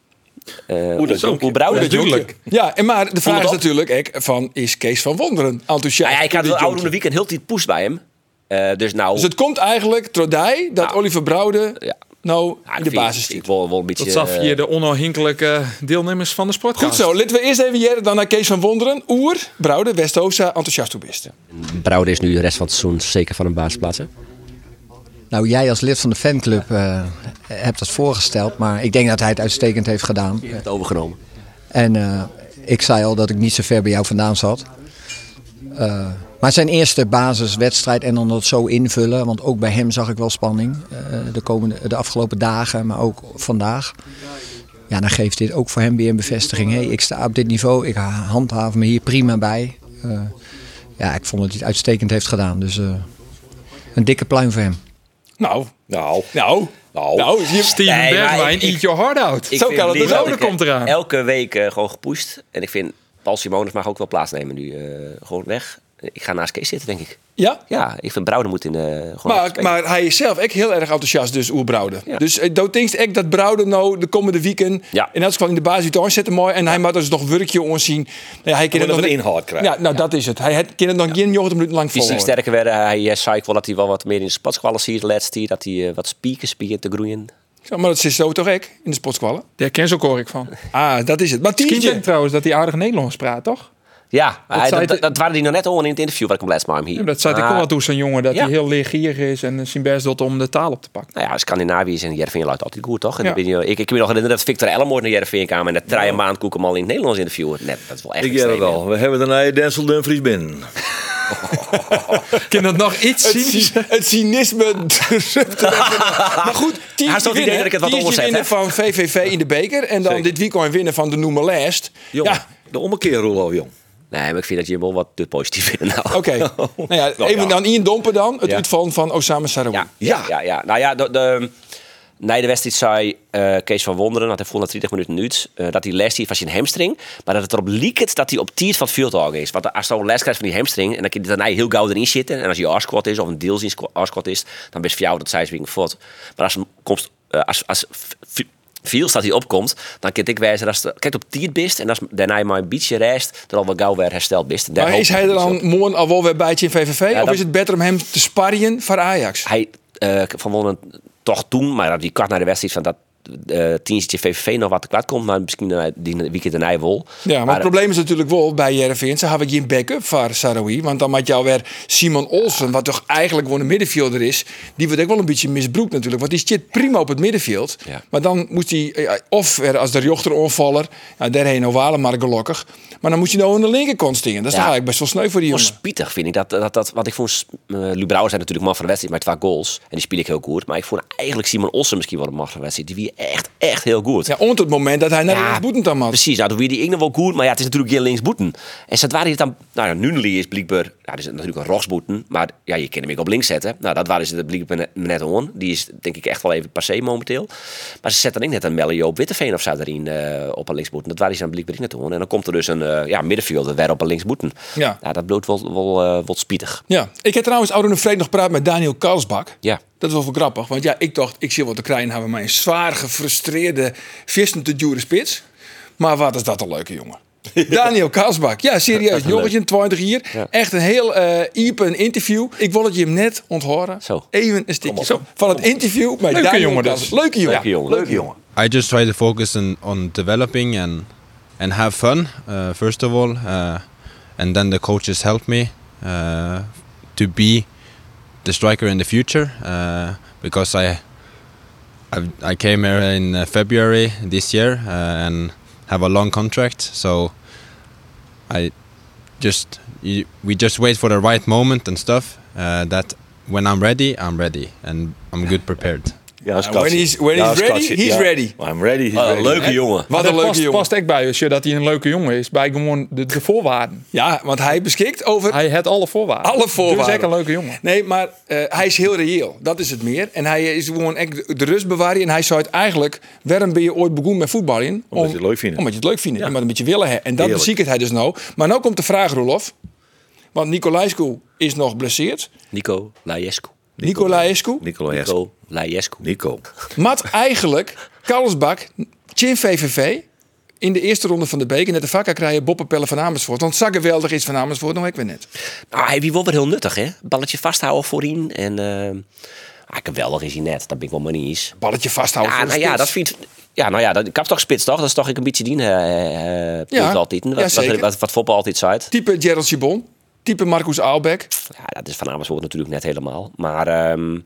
E: eh, hoe hoe Brouwer het jonkje.
A: Ja, en maar de vraag
E: het
A: is
E: op.
A: natuurlijk ek, van, is Kees van Wonderen enthousiast?
E: Nou ja, ik had
A: Dit
E: het oude
A: jonkie.
E: weekend heel tijd poes bij hem. Eh, dus nou...
A: Dus het komt eigenlijk, Trodij, dat
E: Ja.
A: Oliver Brouwde
E: Ja.
A: nou
E: ja, ik
A: in de
E: vind-
A: basis
E: Ik
A: zit.
E: wil wel een beetje...
D: Dat zag
E: eh,
D: je de onafhankelijke deelnemers van de sport.
A: Goed zo, laten we eerst even jaren dan naar Kees van Wonderen. Oer, Brouwde, West-Oosta, enthousiast toe bist.
F: Brouwde is nu de rest van het seizoen zeker van een basisplaats. hè?
H: Nou, jij als lid van de fanclub eh, hebt dat voorgesteld, maar ik denk dat hij het uitstekend heeft gedaan.
F: Het overgenomen.
H: En eh, ik zei al dat ik niet zo ver bij jou vandaan zat. Eh, maar zijn eerste basiswedstrijd en dan dat zo invullen, want ook bij hem zag ik wel spanning eh, de, komende, de afgelopen dagen, maar ook vandaag. Ja, dan geeft dit ook voor hem weer een bevestiging. hey, ik sta op dit niveau, ik ha- handhaaf me hier prima bij. Eh, ja, ik vond dat hij het uitstekend heeft gedaan. Dus eh, een dikke pluim voor hem.
A: Nou,
E: Nou,
A: nou,
E: nou.
A: nou. hier-
D: Steven
E: Nee, maar
D: Bergwijn,
E: ik- ik-
D: eat your heart out.
E: Ik
A: Zo
E: vind
A: kan het
E: Lee
A: dus ook.
E: dat ik,
D: De komt
E: eh,
D: eraan.
E: Elke week eh, gewoon gepoest. En ik vind, Paul Simonis mag ook wel plaatsnemen nu. eh, gewoon weg. Ik ga naast Kees zitten, denk ik.
A: Ja?
E: Ja, ik vind Brouwer moet in eh gewoon
A: Maar,
E: spelen.
A: maar hij is zelf ook heel erg enthousiast, dus Oer Brouwde.
E: Ja.
A: Dus ik dat denk ik dat Brouwde nou de komende weekend...
E: Ja.
A: en dat is gewoon in de basis het aanzetten mooi... en hij moet dus nog werkje onzien. Nou ja, hij kan
C: Omdat
A: het nog
C: we
A: net-
C: een inhoud krijgen.
A: Ja, nou dat is het. Hij het- kan het nog geen 90 minuten lang
E: Fysiek
A: volhouden.
E: sterker werden. Hij eh, zei ik wel dat hij wel wat meer in de spatskwallen ziet. Laatst hier dat hij eh, wat spiekers begint te groeien.
A: Ja, maar dat is zo toch ook in de sportskwallen?
D: Daar ken ze ook ik van.
A: Ah, dat is het. Maar
D: Ik denk
A: Tientje,
D: trouwens dat hij aardig Nederlands praat, toch?
E: Ja, hij- dat,
D: zei
E: dat,
D: hij-
E: dat waren die nog net al in het interview waar ik hem laatst maar hier.
D: Ja, dat zei ik
E: Maar,
D: ook wel toen zo'n jongen dat
E: Ah. Ja.
D: hij heel leergierig is en zijn best doet om de taal op te pakken.
E: Nou ja, Scandinavië en Jervin luidt altijd goed, toch? En
D: Ja.
E: ik, weet niet, eh, ik, ik kan me nog herinneren dat Victor Ellemoord naar Jervin kwam... en dat drie maand koek hem al in het Nederlands interviewen. Net, dat is wel echt
C: Ik jij het
E: extreem, hè.
C: al. We hebben daarna Denzel Dumfries binnen.
D: Kan dat nog iets
A: het,
D: zien?
A: cy- het cynisme drukt er even op. Maar goed,
E: Hij stond
A: Tientje
E: idee dat ik
A: winnen.
E: het wat
A: Tientje
E: omzet,
A: winnen
E: hè?
A: van VVV in de beker... en dan
C: Zeker.
A: dit weekend winnen van de Noemer Last.
C: Jong,
A: Ja,
C: de ommekeer Rollo, jong.
E: Nee, maar ik vind dat je wel wat te positief vindt. Nou.
A: oké. Nou ja, even dan in dompen dan. Het uitvallen van Osama Sarawi.
E: Ja, ja, ja. ja. Nou ja, de, de, na de wedstrijd zei eh, Kees van Wonderen, dat hij voelde na 30 minuten nuut, eh, dat hij les heeft van zijn hamstring. Maar dat het erop liekt dat hij op tiers van het veld af is. Want als je een les krijgt van die hamstring, en dan kan je daarna heel gauw erin zitten. En als je R-squat is, of een deels in squa- R-squat is, dan best voor jou dat zijswing voort. Maar als een komst, eh, als, als v- v- Viels dat hij opkomt, dan kan ik wijzen dat kijk op tiert bist en als daarna je maar een beetje rest, dan al wel gauw weer hersteld bist. En daar
A: Maar
E: hoop
A: is
E: ik
A: hij er
E: iets op.
A: dan morgen al wel weer bijtje in VVV? of
E: dat-
A: is het beter om hem te sparren voor Ajax?
E: hij eh, van Wonen toch toen, maar op die kwart naar de wedstrijd van dat eh tientje VVV nog wat te kwaad komt, maar misschien eh, die weekend in Nijwol.
A: Ja, maar het probleem is natuurlijk wel bij Jereveen. Ze hebben geen backup voor Saroui. Want dan had jou weer Simon Olsen, wat toch eigenlijk gewoon een middenvelder is. Die wordt ook wel een beetje misbruikt natuurlijk. Want die zit prima op het middenveld.
E: Ja.
A: Maar dan moet hij, eh, of weer als de jochter onvaller, nou, daarheen ovale maar gelukkig. Maar dan moet je nou aan de linkerkant stingen. Dat is
E: Ja.
A: toch eigenlijk best wel sneu voor die
E: Wel
A: jongen.
E: eh, spietig vind ik dat, dat, dat wat ik vond. eh Lubrouwer zijn natuurlijk man van de wedstrijd met twee goals. En die speel ik heel goed. Maar ik vond eigenlijk Simon Olsen misschien wel een man van de wedstrijd. Die wie echt, echt heel goed.
A: Ja, ont het moment dat hij naar de boeten dan had.
E: Precies, nou, dat wie die ik nog wel goed, maar ja, het is natuurlijk geen linksboeten. En zodra hij het dan, nou ja, Nunli is blijkbaar ja, dat is natuurlijk een rogsboeten, maar ja, je kan hem ook op links zetten. Nou, dat waren ze, dat bleek me net- me net on. Die is denk ik echt wel even passé momenteel. Maar ze zetten dan ook net een Mellio op Witteveen of zo erin eh, op een linksboeten. Dat waren ze dan bleek ik net on. En dan komt er dus een eh, ja, middenvelder weer op een linksboeten.
A: Ja.
E: ja dat bloedt wel, wel eh, wat spietig.
A: Ja, ik heb trouwens ouder en vreemd nog gepraat met Daniel Kalsbak.
E: Ja.
A: Dat is wel veel grappig, want ja, ik dacht, ik zie wat te krijgen, hebben mij een zwaar gefrustreerde vissen te dure spits. Maar wat is dat een leuke jongen? Daniel Kalsbak, ja serieus, jongetje, 20 hier. Echt een heel eh iepen interview. Ik wil dat je hem net onthoren.
E: Zo.
A: Even een stukje zo. van het interview met
D: Leuke
A: Daniel
D: jongen dus.
A: Kalsbak. Leuke jongen.
E: Leuke jongen.
C: Leuk jongen.
I: I just try to focus on, on developing and and have fun uh, first of all, uh, and then the coaches help me uh, to be the striker in the future uh, because I I've, I came here in uh, February this year uh, and have a long contract, so I just you, we just wait for the right moment and stuff. Uh, that when I'm ready, I'm ready and I'm good prepared.
C: Ja,
A: When he's- when he's ready, he's ready.
C: I'm ready, Ah, he's ready.
E: Wat een Eh, leuke jongen.
A: Wat
D: dat
A: een leuke
D: past,
A: jongen.
D: past echt bij als je dat hij een leuke jongen is. Bij gewoon de, de voorwaarden.
A: Ja, want hij beschikt over
D: Hij had alle voorwaarden.
A: Alle voorwaarden.
D: Dus echt een leuke jongen.
A: Nee, maar eh, hij is heel reëel. Dat is het meer. En hij is gewoon echt de rust bewaren. En hij zou het eigenlijk... Waarom ben je ooit begonnen met voetbal in?
C: Omdat je het leuk vindt.
A: Omdat je het leuk vindt. Omdat je een beetje willen hebben. En dat
C: Heerlijk.
A: beziekert hij dus nou. Maar nu komt de vraag, Rolof. Want Nicolaescu is nog blesseerd.
E: Nico Lajescu.
A: Nicolaescu.
C: Nicolas.
E: Nico Lajescu.
C: Nico.
A: Mat eigenlijk Karlsbak, Chin VVV... In de eerste ronde van de beker net de vakken krijgen Boppenpellen van Amersfoort. Want zo geweldig is van Amersfoort nog ik weer net.
E: Ah, hij wie wel weer heel nuttig, hè? Balletje vasthouden voorin. En ehm ah, geweldig is hij net. Dat ben ik wel maar niet eens.
A: Balletje vasthouden.
E: Ja,
A: Oh, voor de
E: nou ja,
A: spits.
E: dat vindt. Ja, nou ja, dat, ik heb toch spits, toch? Dat is toch een beetje die eh eh, punt
A: Ja,
E: altijd. hè? Wat,
A: jazeker.
E: wat, wat, wat voetbal altijd zei.
A: Type Gerald Cibon. Type Marcus Aalbeck.
E: Ja, dat is van Amersfoort natuurlijk net helemaal. Maar ehm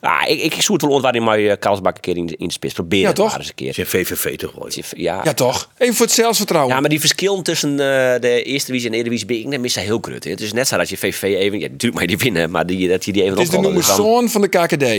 E: ah, ik, ik zoek het wel ont waarin maar eh, Karlsbak een keer in de, in de spits probeert.
A: Ja, toch?
E: Maar eens een keer.
C: Zijn VVV toch wel.
E: Ja.
A: Ja, toch? Even voor het zelfvertrouwen.
E: Ja, maar die verschil tussen eh, de eerste divisie en de Eredivisie ben ik net missen heel grut. hè. Het is net zo dat je VVV even, ja, natuurlijk maar die winnen, maar die, dat je die even
A: Het is de
E: oprollen.
A: nummer
E: Dus dan-
A: zoon van de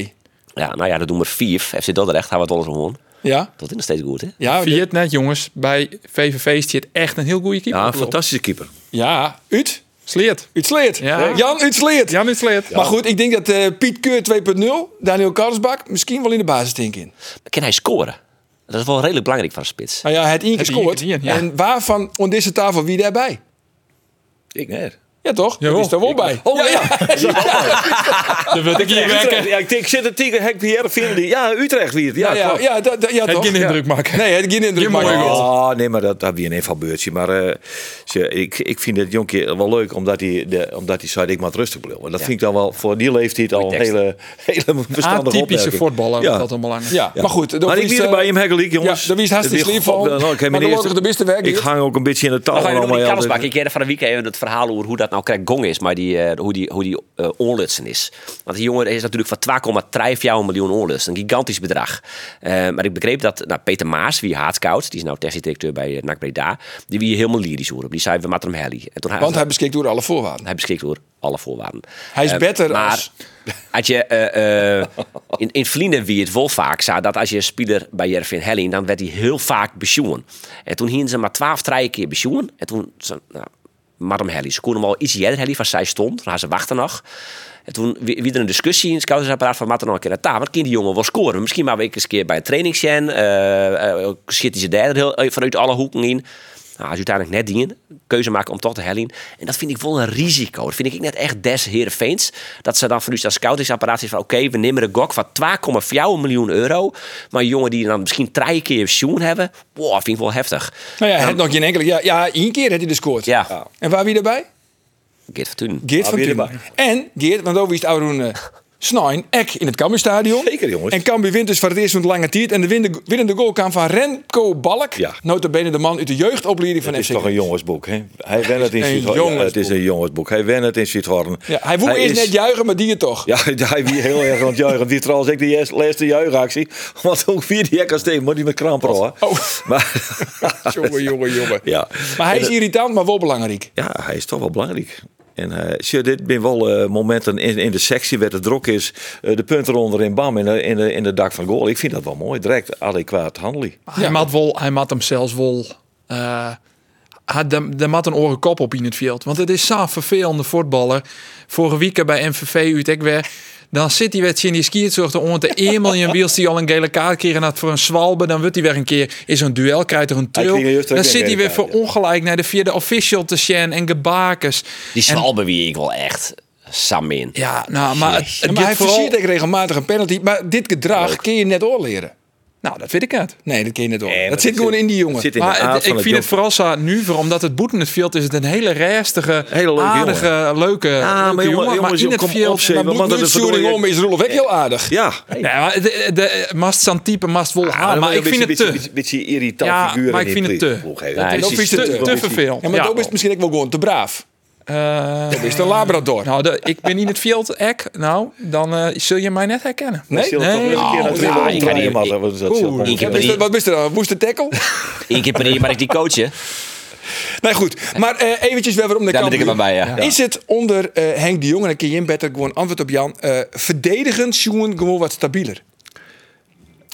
A: KKD.
E: Ja, nou ja, de nummer 4, FC Dordrecht, gaan we het alles om horen.
A: Ja?
E: Dat is nog steeds goed, hè?
A: Ja, de-
D: Viert net, jongens. Bij VVV is het echt een heel goede keeper.
C: Ja, een fantastische keeper.
A: ja. Ut?
D: Sleert.
A: Ut Sleert.
D: Ja.
A: Jan Ut Sleert.
D: Jan is Sleert.
A: Maar goed, ik denk dat eh, Piet Keur 2.0, Daniel Karlsbak, misschien wel in de basis denk in.
E: Kan hij scoren? Dat is wel redelijk belangrijk voor een spits.
A: Nou ja, het één keer
D: Het één
A: scoort.
D: keer, ja.
A: En waarvan, op deze tafel, wie daarbij?
C: Ik net.
A: Ja, toch? Ja,
D: Jawel.
A: is daar wel bij. Oh, ja.
D: Dan wil ik hier werken.
C: Ja, ik, denk, ik zit er tegen Henk Pierre Vier, die- Ja, Utrecht wie het. Ja,
A: Ja, ja,
C: klopt.
A: ja, dat- dat- ja,
D: Het
A: toch?
D: geen indruk maken.
A: Nee, het geen indruk
D: Je mooie
A: maken.
D: goal.
C: Ah, nee, maar dat heb je een beurtje. Maar eh, ze- ik, ik vind het jonkje wel leuk, omdat hij, de, omdat hij zei, ik maar rustig blijven. En dat vind ik dan wel, voor die leeftijd al een
E: tekst.
C: hele, hele verstandige
D: Atypische
C: opmerking.
D: voetballer.
C: Ja.
D: Ja. Dat dan belangrijk.
A: Ja, maar goed. dan
C: maar ik
A: is,
C: weer
A: eh,
C: bij hem Heggelik,
A: Ja,
C: jongens.
A: dat is hartstikke
C: Weer-
A: slim van.
C: Nou, ik heb mijn
A: Maar dan
C: eerste-
A: wordt het de beste werk.
C: Ik hang ook een beetje in de taal.
E: Dan ga je nog
C: allemaal,
E: niet
C: ja,
E: Karlsbak.
C: dat-
E: Ik heb van de weekend even het verhaal over hoe dat nou krijgt gong is, maar die, eh, hoe die, hoe die eh, onlutsen is. Want die jongen is natuurlijk van 2,3 jaar een miljoen onlutsen. Een gigantisch bedrag. Eh, maar ik begreep dat nou, Peter Maas, wie haatkoud, die is nou technisch directeur bij eh, NAC Breda, die wie helemaal lyrisch hoorde. Die zei, we maten hem helly. En toen
A: Want hij beschikt door alle voorwaarden.
E: hij beschikt over alle voorwaarden.
A: Hij is
E: Eh,
A: beter
E: maar
A: als-
E: als je, eh, eh, in, in Vlienden wie het wel vaak zag, dat als je een speler bij Jervin Helling, dan werd hij heel vaak besjoen. En toen hingen ze maar twaalf, drie keer besjoen. En toen, ze, nou, Madam Helly, ze kon hem al iets eerder Helly van zij stond. Toen hadden ze wachten nog. En toen wie wie er een discussie in het scoutingsapparaat van Matten nog een keer naar tafel. Want kind die jongen wel scoren. Misschien maar weer eens een keer bij een training zijn. eh, eh, schiet hij ze daar heel, eh, vanuit alle hoeken in. Nou, als je uiteindelijk net dingen, keuze maken om toch te hellen. En dat vind ik wel een risico. Dat vind ik net echt des Heerenveens. Dat ze dan voor nu als scoutingsapparaat is van... oké, we nemen een gok van 2,4 miljoen euro. Maar een jongen die dan misschien drie keer zoen hebben... Wow, vind ik wel heftig.
A: Nou ja, het nog geen enkele. Ja, ja, één keer heeft hij gescoord.
E: Ja.
A: En waar wie erbij?
E: Geert Fortuyn.
A: Geert van
C: weer
A: Tumen. En Geert, want over is het Arun eh, Snijn, Ek in het Cambuurstadion.
C: Zeker, jongens.
A: En Cambuur wint dus voor het eerst van lange tijd. En de winnende, winnende goal kwam van Renko Balk.
C: Ja.
A: Notabene de man uit de jeugdopleiding van
C: Het is
A: FC.
C: toch een jongensboek, hè? Hij wen het in
A: een
C: Zuidhorn. Ja, het is een jongensboek. Hij wen het in Zuidhorn.
A: ja, hij woe eerst
C: is-
A: net juichen, maar die het toch.
C: Ja, hij wie heel erg aan het juichen. Die trouwens ook de eerste- laatste juichactie. Want ook vier die kan steken, moet niet met krampen hoor.
A: Oh.
C: Maar,
A: jongen, jongen, jongen.
C: ja. eh,
A: Maar hij is irritant, maar wel belangrijk.
C: ja, hij is toch wel belangrijk. En eh, zie, dit zijn wel eh, momenten in, in de sectie waar het druk is. eh, de punten onder in bam in de, in, de, in de dak van goal. Ik vind dat
D: Ah,
C: wel mooi. Direct adequaat handelen.
D: Hij maakt wel, hij maakt hem zelfs wel. eh, had de, de mat een oren kop op in het veld. Want het is zo'n vervelende voetballer. Vorige week bij MVV Utrecht weer. Dan zit hij weer in die skiertzorg om te 1 miljoen wiels die al een gele kaart kregen had voor een zwalbe. Dan wordt hij weer een keer in zo'n duel, krijgt er een
C: Hij
D: tril.
C: kreeg juist ook
D: Dan
C: een
D: zit hij
C: gele
D: weer
C: kaart,
D: voor
C: ja.
D: ongelijk naar de vierde official te sjen en gebakers.
E: Die zwalbe wie ik wel echt sam in.
D: Ja, nou, maar het, het
A: Ja, maar hij
D: gaat vooral...
A: versiert ook regelmatig een penalty. Maar dit gedrag kun je net oorleren.
D: Nou, dat vind ik het.
A: Nee, dat kun je net oorleren.
C: maar
A: dat zit
C: dat
A: gewoon
C: zit-
A: in die jongen.
C: dat zit in de
D: Maar
C: aard
D: het-
C: van
D: ik
C: het
D: vind het
C: job.
D: vooral zo nu, voor, omdat het boeten in het veld is, het een hele restige,
C: Hele leuke
D: aardige, leuke,
C: maar
D: leuke
C: jongen,
D: jongen. Maar
C: jongens,
D: in
C: joh,
D: het
C: kom
D: veld...
C: op, zeg.
A: Maar
C: Wat
A: bloed-
C: een
A: bloedzuring
C: verdorie-
A: om is Roelof ook heel aardig.
C: Ja.
D: Nee, maar de, de, de- mast zo'n type, mast vol
C: Ah,
D: haar.
C: dan
D: maar
C: word je
D: ik vind
C: een
D: het
C: beetje,
D: te.
C: Beetje, beetje irritant
D: Ja,
C: figuur
D: maar
C: in
D: ik
C: die
D: vind het te.
C: ploeg, hè.
E: Ja,
C: Dat
E: dat
C: is
D: vind ik te-
C: wel
D: te
C: een beetje-
D: vervelend.
A: Ja, maar
D: Ja.
A: dat is het misschien ook wel gewoon te braaf.
D: Eh,
A: Dat is de Labrador.
D: nou, de- ik ben in het veld, ek. Nou, dan eh, zul je mij net herkennen.
C: Ik zie het
D: Nee?
C: toch wel een
E: Nee.
C: keer
E: Nou,
C: dat weer
E: nou,
C: wel
E: ik ga niet-
C: omdraaien, maar dat is dat
D: Oeh,
C: zo-
E: ik heb
A: Wat is
E: niet-
A: dat- Wat is er dan? Woeste tackle?
E: Eén keer per jaar maar ik die coachen.
A: Nee, goed. Maar eh eventjes weer om de
E: Daar
A: kant.
E: ben ik er maar bij, ja.
A: Is het onder eh, Henk de Jong, en dan kun je hem beter gewoon antwoord op Jan, eh verdedigend Sjoen gewoon wat stabieler?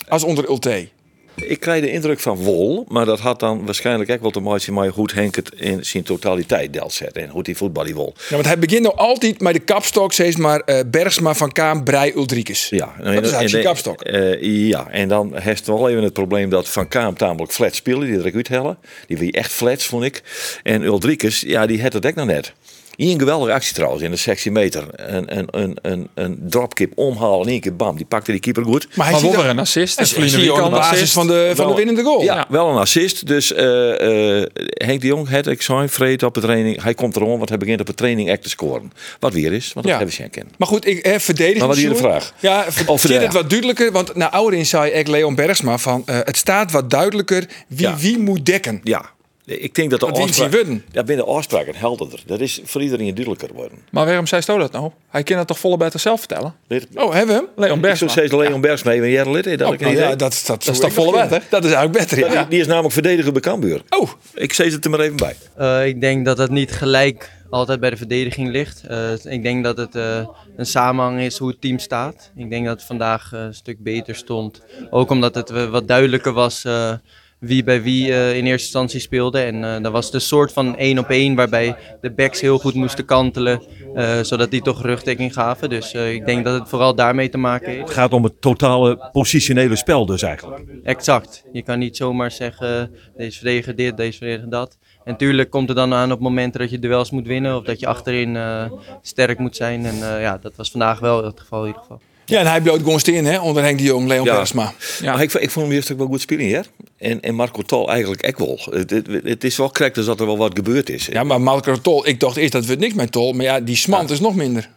A: Als onder Ulte.
C: Ik krijg de indruk van Wol, maar dat had dan waarschijnlijk ook wel te maken met hoe Henk het in zijn totaliteit deelt zetten en hoe die voetbal die wol.
A: Ja, want hij begint nou altijd met de kapstok, steeds maar eh, Bergsma, Van Kaam, Brij, Ulrikes.
C: Ja,
A: dat is eigenlijk je kapstok.
C: Eh, ja, en dan heeft wel even het probleem dat Van Kaam tamelijk flat speelde, die er ook uithellen. Die wie echt flats, vond ik. En Uldrikus, ja, die had het ook nog net. Hier een geweldige actie trouwens in de 16 meter. Een, een, een, een, een dropkip omhalen in één keer, bam, die pakte die keeper goed.
A: Maar hij
D: Maar
A: ziet
D: wel weer
A: er-
D: een assist.
A: hij
D: En
A: zie-
D: Vliener
A: hij zie je
D: Wiek
A: ook
D: al
A: op
D: een
A: basis
D: assist.
A: van de, Eh, van de
C: Wel-
A: winnende goal.
C: Ja, wel een assist. Dus eh, eh, Henk de Jong had ik zijn vreed op de training. Hij komt erom, want hij begint op de training echt te scoren. Wat weer is, want dat
A: Ja.
C: hebben ze Henk in.
A: Maar goed, ik eh, verdedig
C: Maar wat
A: het
C: is de
A: Sjoerd.
C: vraag?
A: Ja, ver-
C: Of
A: vind
C: verdedig-
A: het wat duidelijker. Want nou, naar Ouderin zei ik Leon Bergsma van... eh, het staat wat duidelijker wie
C: Ja.
A: wie moet dekken.
C: Ja, ik denk dat de
A: Want wie
C: afspraak-
A: zien we dan?
C: Ja, binnen afspraken helderder. Dat is voor iedereen duidelijker worden.
D: Maar waarom zei Sto dat nou? Hij kan het toch volle beter zelf vertellen?
C: Dit-
A: Oh, hebben we hem?
D: Leon
C: Ik zou
D: Bergsma.
C: steeds Leon Bergs mee, maar jij had lid in dat
A: Oh,
C: ik
A: nou
C: niet
A: ja,
C: weet.
A: dat, dat,
D: is toch volle wet, hè?
A: Dat is eigenlijk beter, ja.
C: Die, die is namelijk verdediger bij Cambuur.
A: Oh,
C: Ik zet het er maar even bij.
J: Eh, ik denk dat het niet gelijk altijd bij de verdediging ligt. Eh, ik denk dat het eh, een samenhang is hoe het team staat. Ik denk dat het vandaag eh, een stuk beter stond. Ook omdat het eh, wat duidelijker was eh, wie bij wie eh, in eerste instantie speelde. En eh dat was de soort van één op één waarbij de backs heel goed moesten kantelen. eh, zodat die toch rugdekking gaven. Dus eh, ik denk dat het vooral daarmee te maken heeft.
K: Het gaat om het totale positionele spel dus eigenlijk.
J: Exact. Je kan niet zomaar zeggen, deze verdediger dit, deze verdediger dat. En tuurlijk komt het dan aan op momenten dat je duels moet winnen of dat je achterin eh, sterk moet zijn. En eh, ja, dat was vandaag wel het geval in ieder geval.
A: Ja, en hij bloot gewoon steen, hè, onder Henk de Jong, Leon
C: Ja.
A: Bergsma.
C: Maar ik, ik vond hem eerst ook wel goed spelen hier. En, en Marco Tal eigenlijk ook wel. Het, het, het is wel correct dus dat er wel wat gebeurd is.
A: Ja, maar Marco Tol, ik dacht eerst dat we het niks met Tol, maar ja, die smant is nog minder.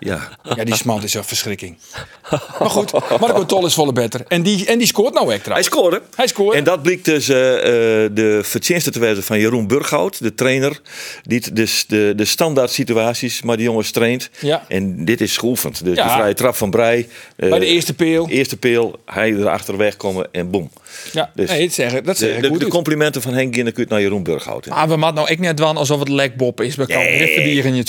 C: Ja.
A: Ja, die smant is een verschrikking. Maar goed, Marco Tol is volle better. En die, en die scoort nou echt
C: Hij
A: trouwens.
C: scoorde.
A: Hij scoort.
C: En dat blijkt dus eh, eh, de verdienste te wijzen van Jeroen Burghout, de trainer. Die t- dus de, de standaard situaties, maar die jongens traint.
A: Ja.
C: En dit is schoolvend. Dus
A: Ja.
C: de vrije trap van Brij. eh,
A: Bij de eerste peel.
C: Eerste peel, hij erachter wegkomen en boem.
A: Ja,
C: Dus-
A: nee, dat zeggen, dat
C: De,
A: zeggen
C: de- de complimenten van Henk Ginnekut naar Jeroen Burghout.
A: Ah.
D: Maar we moeten nou ik net doen alsof het lekbop is. We kan in het
A: Het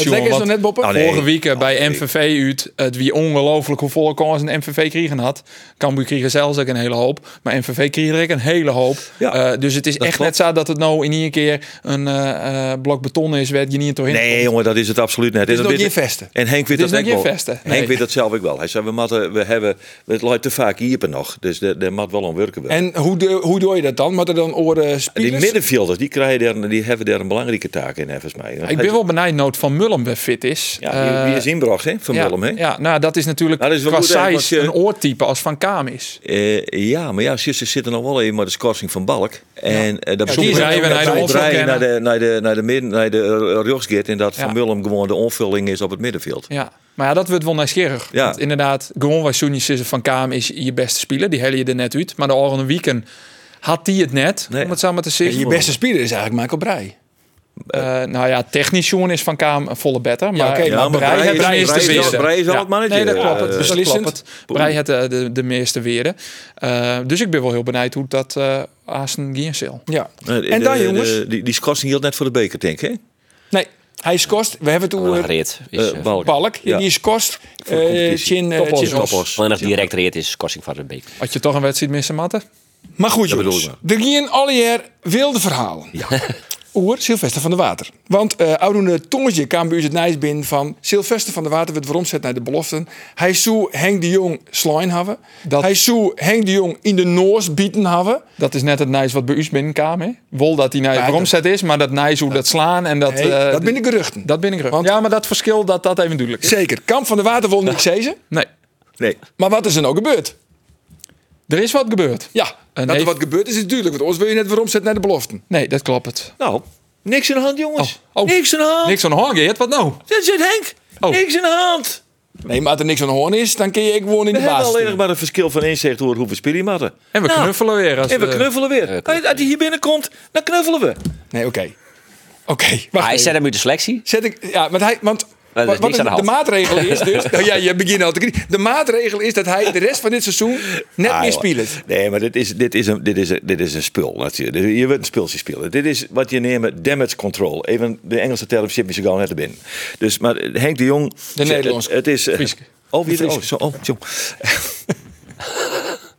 A: lekker is nog net, Boppen.
C: Nou, nee.
D: Vorige week eh, bij MVV uit, het wie ongelooflijk hoeveel kansen een MVV kriegen had. Cambuur kregen zelfs ook een hele hoop, maar MVV kreeg er ook een hele hoop.
C: Ja,
D: Eh, dus het is echt
C: klopt.
D: net zo dat het nou in één keer een eh, eh, blok beton is, werd je niet doorheen.
C: Nee, jongen, dat is het absoluut net.
A: is
C: En dat
A: nog
C: weet-
A: geen vesten.
C: En Henk weet dat
D: Het is
C: ook
D: nog geen
C: wel.
D: vesten. Nee.
C: Henk weet dat zelf ook wel. Hij zei, we, matten, we hebben, het loopt te vaak hierpen nog. Dus de- de mat wel onwerken worden.
A: En hoe, doe- hoe doe je dat dan? Moet er dan oren
C: Die
A: spelers?
C: middenvelders, die, krijgen daar, een- die hebben daar een belangrijke taak in, volgens mij.
D: Ik ben wel benijd nood van Mullen weer fit is.
C: Ja, die,
D: Eh,
C: die is inbracht, hè, van
D: ja,
C: Willem, hè?
D: Ja, nou dat is natuurlijk
C: Nou, dat is wel
D: qua
C: goed, hè, want
D: size
C: je-
D: een oortype als Van Kaam is.
C: Eh, ja, maar ja, zussen zitten nog wel even met de schorsing van Balk. En eh, dat betekent
D: zijn we
C: dat
D: naar de
C: wij
D: opvang
C: draaien naar
D: kennen.
C: de, naar de, naar de, midden, naar de eh, rechtsgeert en dat
D: Ja.
C: Van Willem gewoon de onvulling is op het middenveld. Eh,
D: Ja, maar ja, dat wordt wel nieuwsgierig.
C: Ja.
D: Want inderdaad, gewoon waar Soenie Sisse van Kaam is je beste speler. Die helle je er net uit. Maar de volgende weekend had die het net,
C: Nee.
D: om het samen te zeggen.
A: Je beste speler is eigenlijk Michael Breij.
D: Eh, nou ja, technisch Sjoen is van Kaam een volle better. Maar,
A: oké,
C: maar
D: ja,
C: Breij is-
D: Breij
C: Breij is wel-
D: weerder.
C: Breij is wel
D: Ja.
C: het mannetje.
D: Nee, dat
C: Ja,
D: klopt. het,
C: eh,
D: dat
A: beslissend.
D: klopt het. Breij had eh, de, de meeste weerden. Eh, dus ik ben wel heel benieuwd hoe dat eh Asen Giersel.
A: Ja.
C: Eh, de-
A: en dan
C: de- de-
A: jongens.
C: die, die schorsing hield net voor de beker, denk ik, hè?
A: Nee, hij is kost. We hebben toen
E: Een
A: over
E: reet is...
C: Eh,
E: eh,
C: Balk.
A: Balk. Ja,
C: Ja.
A: Die is kost.
C: de
A: eh
C: competitie.
A: Chin, eh,
D: Topos,
A: Chin Os.
C: Topos.
E: Alleen nog direct reed is korsing van de beek.
D: Had je toch een wedstrijd missen, Matten?
A: Maar goed,
C: Dat bedoel
A: jongens. Er gingen al hier wilde verhalen. Oer Sylvester van der Water. Want eh oudoende tongetje kwam bij ons het nijs binnen van Sylvester van der Water werd veromzet naar de beloften. Hij zou Henk de Jong slijn hebben.
D: Dat-
A: Hij zou Henk de Jong in de noos bieten hebben.
D: Dat is net het nice wat bij u binnenkwam. hè? Wol dat hij naar je
A: Ja,
D: bromzet is, maar dat nice hoe dat slaan en dat...
A: Nee,
D: eh,
A: dat binnen geruchten.
D: Dat ben ik er.
A: Want-
D: Ja, maar dat verschil, dat, dat even duidelijk is.
A: Zeker. Kamp van der Water wil niks zezen.
D: Nee,
C: Nee.
A: Maar wat is er nou gebeurd?
D: er is wat gebeurd.
A: Ja,
D: En
A: dat er
D: heeft-
A: wat gebeurd is, is duidelijk. Want ons wil je net veromzet naar de beloften.
D: Nee, dat klopt het.
C: Nou, niks in de hand, jongens.
D: Oh, oh.
C: Niks in de hand.
D: Niks van Hong, Geert, wat nou?
C: Dit zit Henk. Niks in de hand.
A: Nee, maar als er niks aan de hoorn is, dan kun je ik gewoon in
C: We
A: de
C: hebben
A: baas.
C: alleen nog maar een verschil van inzicht over hoeveel spelen matten.
D: En we
C: Nou,
D: knuffelen weer. Als
C: En we
D: we-
C: knuffelen weer. Als hij hier binnenkomt, dan knuffelen we.
A: Nee, oké. Oké, wacht
E: Hij
A: even.
E: zet hem uit de selectie.
A: Zet ik, ja, want hij, want
E: Maar er is
A: wat
E: niks aan de hand.
A: maatregel is dus, nou ja, je begint al te krie- De maatregel is dat hij de rest van dit seizoen net
C: Ah,
A: meer
C: joh.
A: speelt.
C: Nee, maar dit is, dit is, een, dit is, een, dit is een spul. Natuurlijk. Dit- Je wilt een spulsje spelen. Dit is wat je neemt damage control. Even de Engelse term zit me zo gauw net binnen. Dus, maar Henk de Jong...
A: De Nederlandse.
C: Het, het is... eh,
D: Frieske.
C: Oh, wie oh, zo, oh, zo.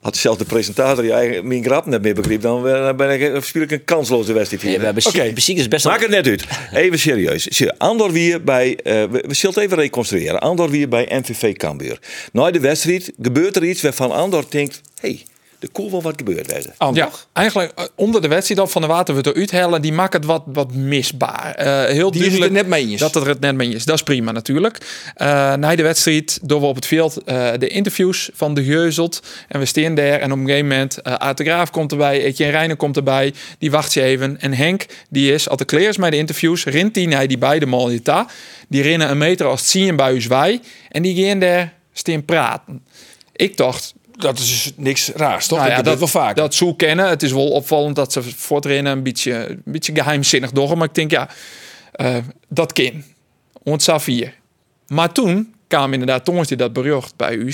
C: Had zelfs de presentator die eigen, mijn grap net meer begreep... dan eh, ben ik, eh, speel ik een kansloze wedstrijd hier.
E: Ja, maar Beziek-
A: Oké.
E: Beziek is best wel...
C: Maak het net uit. Even serieus. Zie, Andor weer bij, eh, we, we zullen het even reconstrueren. Andor weer bij MVV Cambuur. Na de wedstrijd gebeurt er iets waarvan Andor denkt, hey, er kon wel wat gebeurd wezen.
D: Ja, eigenlijk eh, onder de wedstrijd op van de water we eruit hellen, die maakt het wat, wat misbaar. Eh, heel
A: Die is het
D: duidelijk
A: er net mee eens.
D: Dat het er het net mee is. Dat is prima natuurlijk. Eh na de wedstrijd door we op het veld eh, de interviews van de Geuzelt en we staan daar en op een gegeven moment eh Aad de Graaf komt erbij, Etienne Reijnen komt erbij, die wacht ze even en Henk die is al te kleers met de interviews, rint die naar die beide Malita, die rennen een meter als het zien bij u wij en die gaan daar staan praten. Ik dacht,
A: Dat is dus niks raars, toch?
D: nou ja,
A: dat, gebeurt wel vaak.
D: Dat zo kennen. Het is wel opvallend dat ze voortrennen een beetje, een beetje geheimzinnig door. Maar ik denk, ja, eh, dat kan. Want Safir. Maar toen kwam inderdaad Tongens die dat bericht bij u.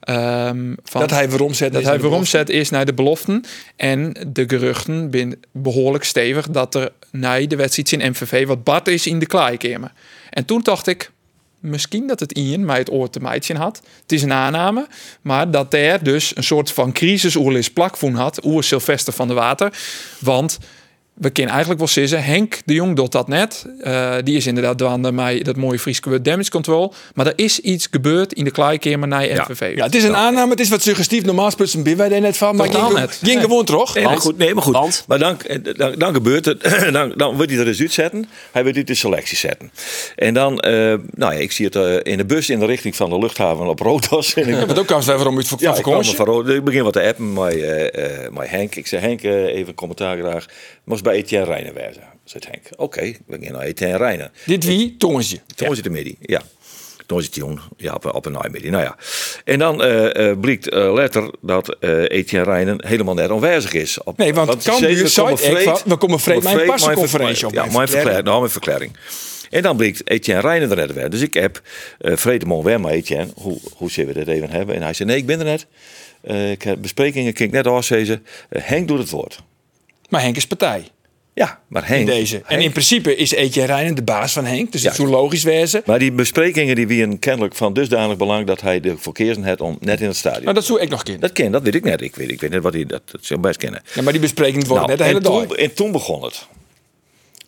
D: ehm, van,
A: dat hij weer omzet.
D: dat
A: is
D: hij
A: naar de
D: veromzet is naar de beloften. En de geruchten zijn behoorlijk stevig dat er na de wedstrijd in MVV wat bad is in de kleikamer. En toen dacht ik, misschien dat het Ian mij het oor te meidje had. Het is een aanname, maar dat er dus een soort van crisisoerlis plakvoen had. Oer Sylvester van de Water. Want we kennen eigenlijk wel zeggen, Henk de Jong doet dat net. Eh, die is inderdaad dwaande mij dat mooie Friese woord damage control. Maar er is iets gebeurd in de kleikamer na MVV.
A: Ja, het is een aanname, het is wat suggestief. Normaal speelt zijn Bimwij daar net van, maar
D: Totaal
A: ging,
D: net.
A: ging
D: Nee.
A: gewoon toch?
C: Nee, maar goed, nee, maar goed.
E: Want?
C: Maar dan, eh, dan, dan gebeurt het. Dan, dan wordt hij er eens uitzetten. Hij wordt uit de selectie zetten. En dan, eh, nou ja, ik zie het eh, in de bus in de richting van de luchthaven op Rodos. En ik,
A: Ja, maar ook kwam ze even om uit van
C: ja,
A: ja,
C: ik, kwam van Rodos. ik begin wat te appen met, eh, eh, met Henk. Ik zei, Henk, eh, even commentaar graag. Moest bij Etienne Reijnen wezen, zegt Henk. Oké, we gaan naar Etienne Reijnen.
A: Dit wie? Tongensje.
C: Toen was het de middie, ja. Toen was het jong, ja, op, op een naaimiddie. Nou ja. En dan eh, eh, blijkt eh, later dat eh Etienne Rijnen helemaal net aanwezig is. Op,
A: Nee, want
C: die
A: Cambuur
C: zeven
A: zei
C: komen
A: echt van, we komen vreed mijn
C: vreed
A: passenconferentie op,
C: Ja,
A: mijn
C: mijn
A: verklaring.
C: verklaring. Nou, mijn verklaring. En dan blijkt Etienne Rijnen er net weer. Dus ik heb eh Vrede Mon weer maar Etienne, hoe, hoe zullen we dit even hebben? En hij zei, nee, ik ben er net. Eh, ik heb besprekingen, kan ik net afzezen. Eh, Henk doet het woord.
A: Maar Henk is partij
C: Ja, maar Henk...
A: in deze. En
C: Henk-
A: in principe is Eetje Rijnen de baas van Henk, dus het
C: Ja.
A: zou logisch wezen.
C: maar die besprekingen die wien kennelijk van dusdanig belang dat hij de verkeersen had om net in het stadion.
A: Nou, dat zou ik nog kunnen.
C: Dat ken, dat weet ik net. Ik weet, ik weet net wat hij dat, dat zou best kennen. Nou,
A: Ja, maar die bespreking wordt Oh, net de hele
C: en,
A: dag.
C: toen, en toen begon het.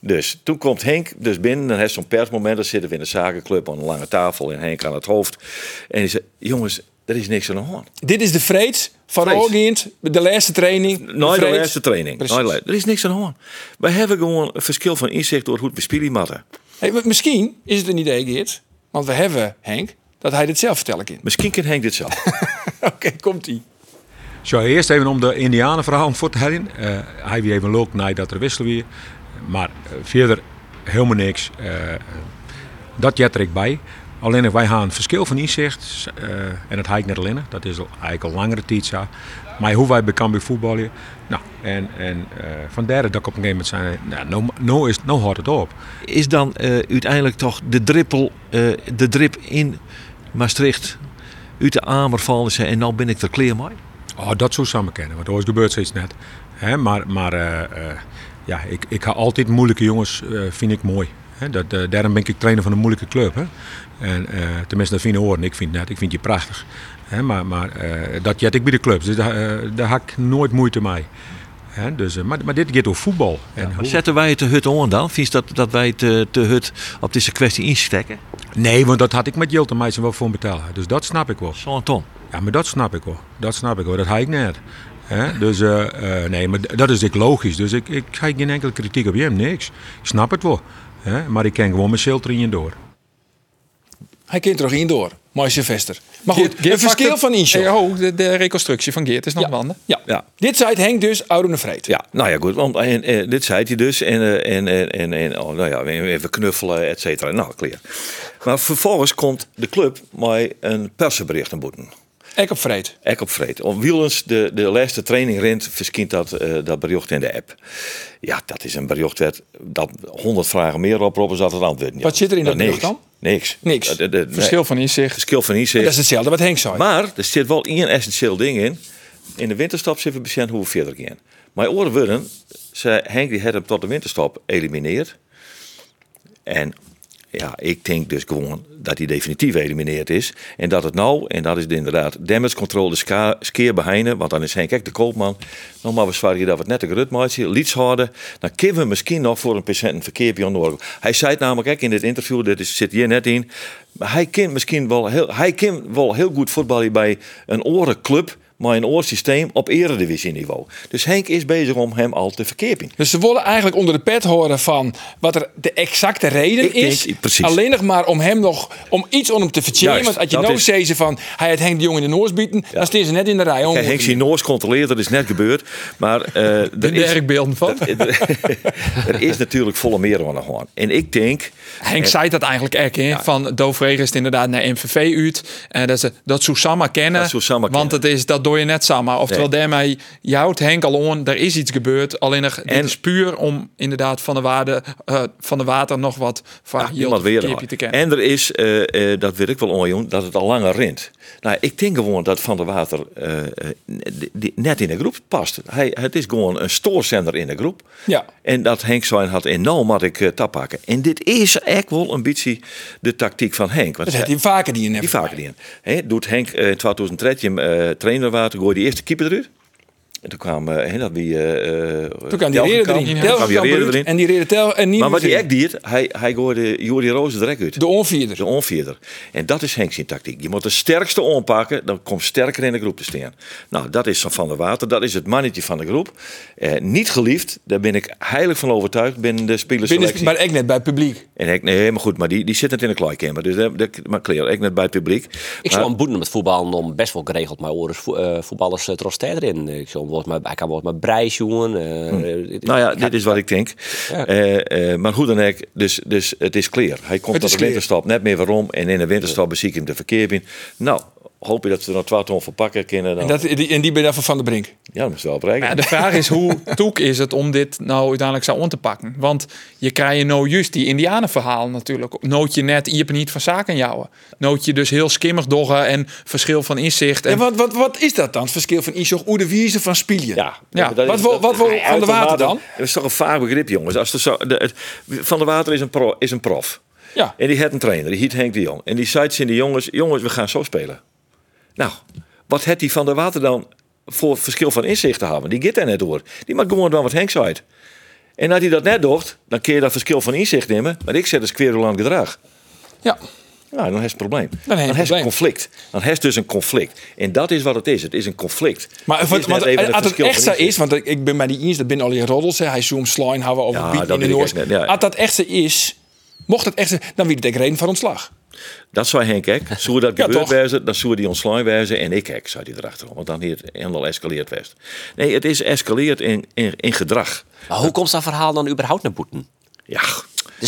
C: Dus toen komt Henk dus binnen, dan heeft zo'n persmoment. Dan zitten we in de zakenclub aan een lange tafel en Henk aan het hoofd. En hij zegt: Jongens, er is niks aan de hand.
A: Dit is de vreed van
C: Vreed.
A: Orgient, de laatste training.
C: Nooit de
A: vreed.
C: laatste training.
A: Precies.
C: Nooit de- er is niks aan de hand. We hebben gewoon een verschil van inzicht door hoe het bespielen matten.
A: Hey, maar misschien is het een idee, Geert, want we hebben Henk, dat hij dit zelf vertellen kan.
C: Misschien kan Henk dit zelf.
A: Oké, komt-ie.
L: Zo, eerst even om de Indianenverhaal voor te halen. Eh, hij wie even loop naar dat er wisselen weer. Maar eh, verder helemaal niks. Eh, dat jet er ik bij. Alleen wij gaan een verschil van inzicht. eh, en dat haal ik net alleen. Dat is al- eigenlijk al langere tijd zo. Maar hoe wij bij Cambuur voetballen. Nou, en, en eh van derde dat ik op een gegeven moment zei. Nou, nou, nou, is, nou houdt het op.
K: Is dan eh, uiteindelijk toch de drippel, eh, de drip in Maastricht uit de Amer vallen ze en nou ben ik er clear mee?
L: Oh, dat zou samen kennen, want ooit gebeurt zoiets net. Hè, maar maar eh, eh, ja, ik, ik ga altijd moeilijke jongens, eh, vind ik mooi. Hè, dat, eh, daarom ben ik trainer van een moeilijke club. Hè. En, eh, tenminste, dat vinden horen. Ik vind het net, ik vind je prachtig. Hè, maar maar eh, dat jet ik bij de clubs, dus daar, eh, daar had ik nooit moeite mee. Hè, dus, eh, maar, maar dit gaat over voetbal. En
K: Maar
L: hoe-
K: zetten wij het de hut aan dan? Vies dat, dat wij te, te hut op deze kwestie instekken?
L: Nee, want dat had ik met Jilte Meijsen wel voor betalen. Dus dat snap ik wel.
K: Zo'n ton.
L: Ja, maar dat snap ik wel. Dat snap ik wel. Dat ga ik net. Hè? Dus eh, eh, nee, maar d- dat is ik logisch. Dus ik, ik ga geen enkele kritiek op hem, niks. Ik snap het wel. Hè? Maar ik ken gewoon mijn Siltrien door.
A: Hij kent er nog in door. Mooi Sylvester. Maar goed,
D: Geert
A: een verschil
D: pakt het-
A: van Insel.
D: Eh, oh, de, de reconstructie van Geert is nog wanden.
A: Ja. Dit zei Henk dus, oude de vreed.
C: Ja, nou ja, goed. Want en, eh, dit zei hij dus. En, eh, en, en, en, en oh, nou ja, even knuffelen, et cetera. Nou, clear. Maar vervolgens komt de club mij een persbericht aan boeten.
A: Ek op vreed.
C: Ek op vreed. Om wielens de, de laatste training rent, verschijnt dat, eh, dat bericht in de app. Ja, dat is een bericht werd dat 100 vragen meer oproepen zat het antwoord niet. Nou,
A: Wat zit er in dat
C: niks,
A: bericht dan?
C: Niks.
A: Niks.
C: Dat- dat- dat- nee.
D: Verschil van inzicht.
C: Verschil van inzicht.
A: Dat is hetzelfde wat Henk zei.
C: Maar er zit wel één essentieel ding in. In de winterstop zitten we bekend hoe we verder gaan. Mijn oren worden, zei Henk die had hem tot de winterstop elimineerd. En ja, ik denk dus gewoon dat hij definitief elimineerd is. En dat het nou, en dat is het inderdaad damage control, de ska- skeer behinden. Want dan is Henk echt de koopman. Nog maar bezwaar je dat we het net een grut maatje, liets houden. Dan kunnen we misschien nog voor een patiënt een verkeerpje aan Noord. Hij zei het namelijk ook in dit interview, dit is, zit hier net in. Maar hij kent misschien wel heel, hij kent wel heel goed voetballen bij een orenclub. Maar een oorsysteem op eredivisieniveau. Dus Henk is bezig om hem al te verkeerpen.
A: Dus ze willen eigenlijk onder de pet horen van wat er de exacte reden
C: Ik
A: is.
C: denk- precies.
A: Alleen nog maar om hem nog, om iets om hem te vertellen.
C: Juist,
A: Want als je
C: dat
A: nou
C: is-
A: zei ze van, hij had Henk de Jong in de Noors bieden, dan staan ze net in de rij. om-
C: Kijk, Henk Sinoors controleert, dat is net gebeurd. Maar eh, er, is,
D: Werkbeelden van.
C: er is natuurlijk volle meer aan de hand. En ik denk,
D: Henk zei dat eigenlijk echt, hè? Van Dovregen is het inderdaad naar MVV uit. En dat ze dat Susama kennen.
C: Dat Susanna
D: want
C: kennen.
D: het is dat doe je net samen. Oftewel, daarmee je houdt Henk al on. Er is iets gebeurd. Alleen nog, dit
C: En-
D: is puur om inderdaad van de, waarde, eh, van de water nog wat van
C: ah,
D: Jilt
C: iemand weer
D: Keerpie te
C: aan.
D: kennen.
C: En er is, eh, eh, dat weet ik wel onjoen, dat het al langer rint. Nou, ik denk gewoon dat Van der Water eh, eh, die- die net in de groep past. Hij, het is gewoon een stoorzender in de groep.
A: Ja.
C: En dat Henk zijn had enorm had ik eh, tap pakken. En dit is echt wel een beetje de tactiek van Henk. Want
A: Dat had hij vaker die in
C: Die vaker die in. Hè, doet Henk eh, in 2013 eh trainer water, gooi die eerste keeper eruit. En toen kwam eh, hè, dat die. eh, eh,
A: Toen kwam die
C: Telgenkamp.
A: reden erin.
C: Toen kwam die
A: Telgenkamp
C: reden
A: eruit
C: erin.
A: En die reden tel en niet
C: Maar wat
A: meer
C: hij
A: erin.
C: echt deed, hij, hij gooide Jori Roos er direct uit.
A: De onvierder.
C: De onvierder. En dat is Henk zijn tactiek. Je moet de sterkste onpakken, dan komt sterker in de groep te staan. Nou, dat is Van der Water, dat is het mannetje van de groep. Eh, niet geliefd, daar ben ik heilig van overtuigd binnen de
A: Binnen-
C: spelerselectie.
A: Maar echt net bij het publiek.
C: En Henk, nee, helemaal goed, maar die, die zit net in de kleikamer. Dus dat, dat- maar clear, ik net bij het publiek.
E: Ik
C: Maar-
E: zou hem boeten met voetballen om best wel geregeld mijn oren vo- eh, voetballers eh, trots tijd erin. Ik zou hem wel eens met- hij kan wel eens met Brijs, jongen. eh,
D: Hm.
E: dit-
C: Nou ja, dit is wat ik denk. Eh, eh, maar goed dan ook, dus, dus het is clear. Hij komt tot
A: Het is
C: de
A: clear.
C: winterstop, net meer waarom. En in de winterstop bezie ik hem de verkeer in. Nou, hoop je dat ze er nog 12 ton voor pakken kunnen. Dan...
A: En, dat, die, en die ben dan van Van der Brink.
C: Ja, dat is wel bereiken.
D: Maar Nou ja, de vraag is hoe toek is het om dit nou uiteindelijk zo om te pakken? Want je krijgt nou juist die indianenverhaal natuurlijk. Noot je net, je niet van zaken jouwen. Noot je dus heel skimmig doggen en verschil van inzicht. En
A: En wat, wat, wat is dat dan? Het verschil van Isog, hoe de wiezen van
C: Ja,
A: Spielje.
D: Ja,
C: maar dat
A: wat wil- wat wil
C: Nee,
A: Van der Water dan?
C: Dat is toch een vaag begrip, jongens. Als er zo, de, het- van der Water is een, pro, is een prof.
A: Ja.
C: En die had een trainer, die hiet Henk de Jong. En die zei in de jongens, jongens, we gaan zo spelen. Nou, wat had die Van der Water dan voor verschil van inzicht te hebben? Die gaat daar net door. Die maakt gewoon dan wat Henk zei. En als hij dat net docht, dan kun je dat verschil van inzicht nemen. Maar ik zet een squerulant gedrag.
A: Ja.
C: Nou, dan is het probleem. Dan,
A: heb
C: heb
A: je
C: je een
A: probleem.
C: conflict. Dan heb je dus een conflict. En dat is wat het is. Het is een conflict.
A: Maar
C: het
A: wat,
C: is net
A: want
C: even een
A: als het
C: verschil
A: echt
C: van
A: zo
C: inzicht.
A: is, want ik- ik ben bij die eens, dat binnen al die roddels, hè, hij zoom slime houden over
C: Ja,
A: bieten
C: dat
A: in de
C: weet ik
A: Noors.
C: echt net, ja.
A: Als dat echt zo is, mocht dat echt zo, dan wie het ik reden van ontslag.
C: Dat zou Henk ook. Zou dat
A: Ja,
C: gebeurd
A: toch?
C: wezen, dan zou die ontslaan wezen. En ik ook, zou die erachterom. Want dan hier het helemaal escaleerd weest. Nee, het is escaleerd in, in, in gedrag.
E: Maar hoe komt dat verhaal dan überhaupt naar boeten?
C: Ja,
E: Het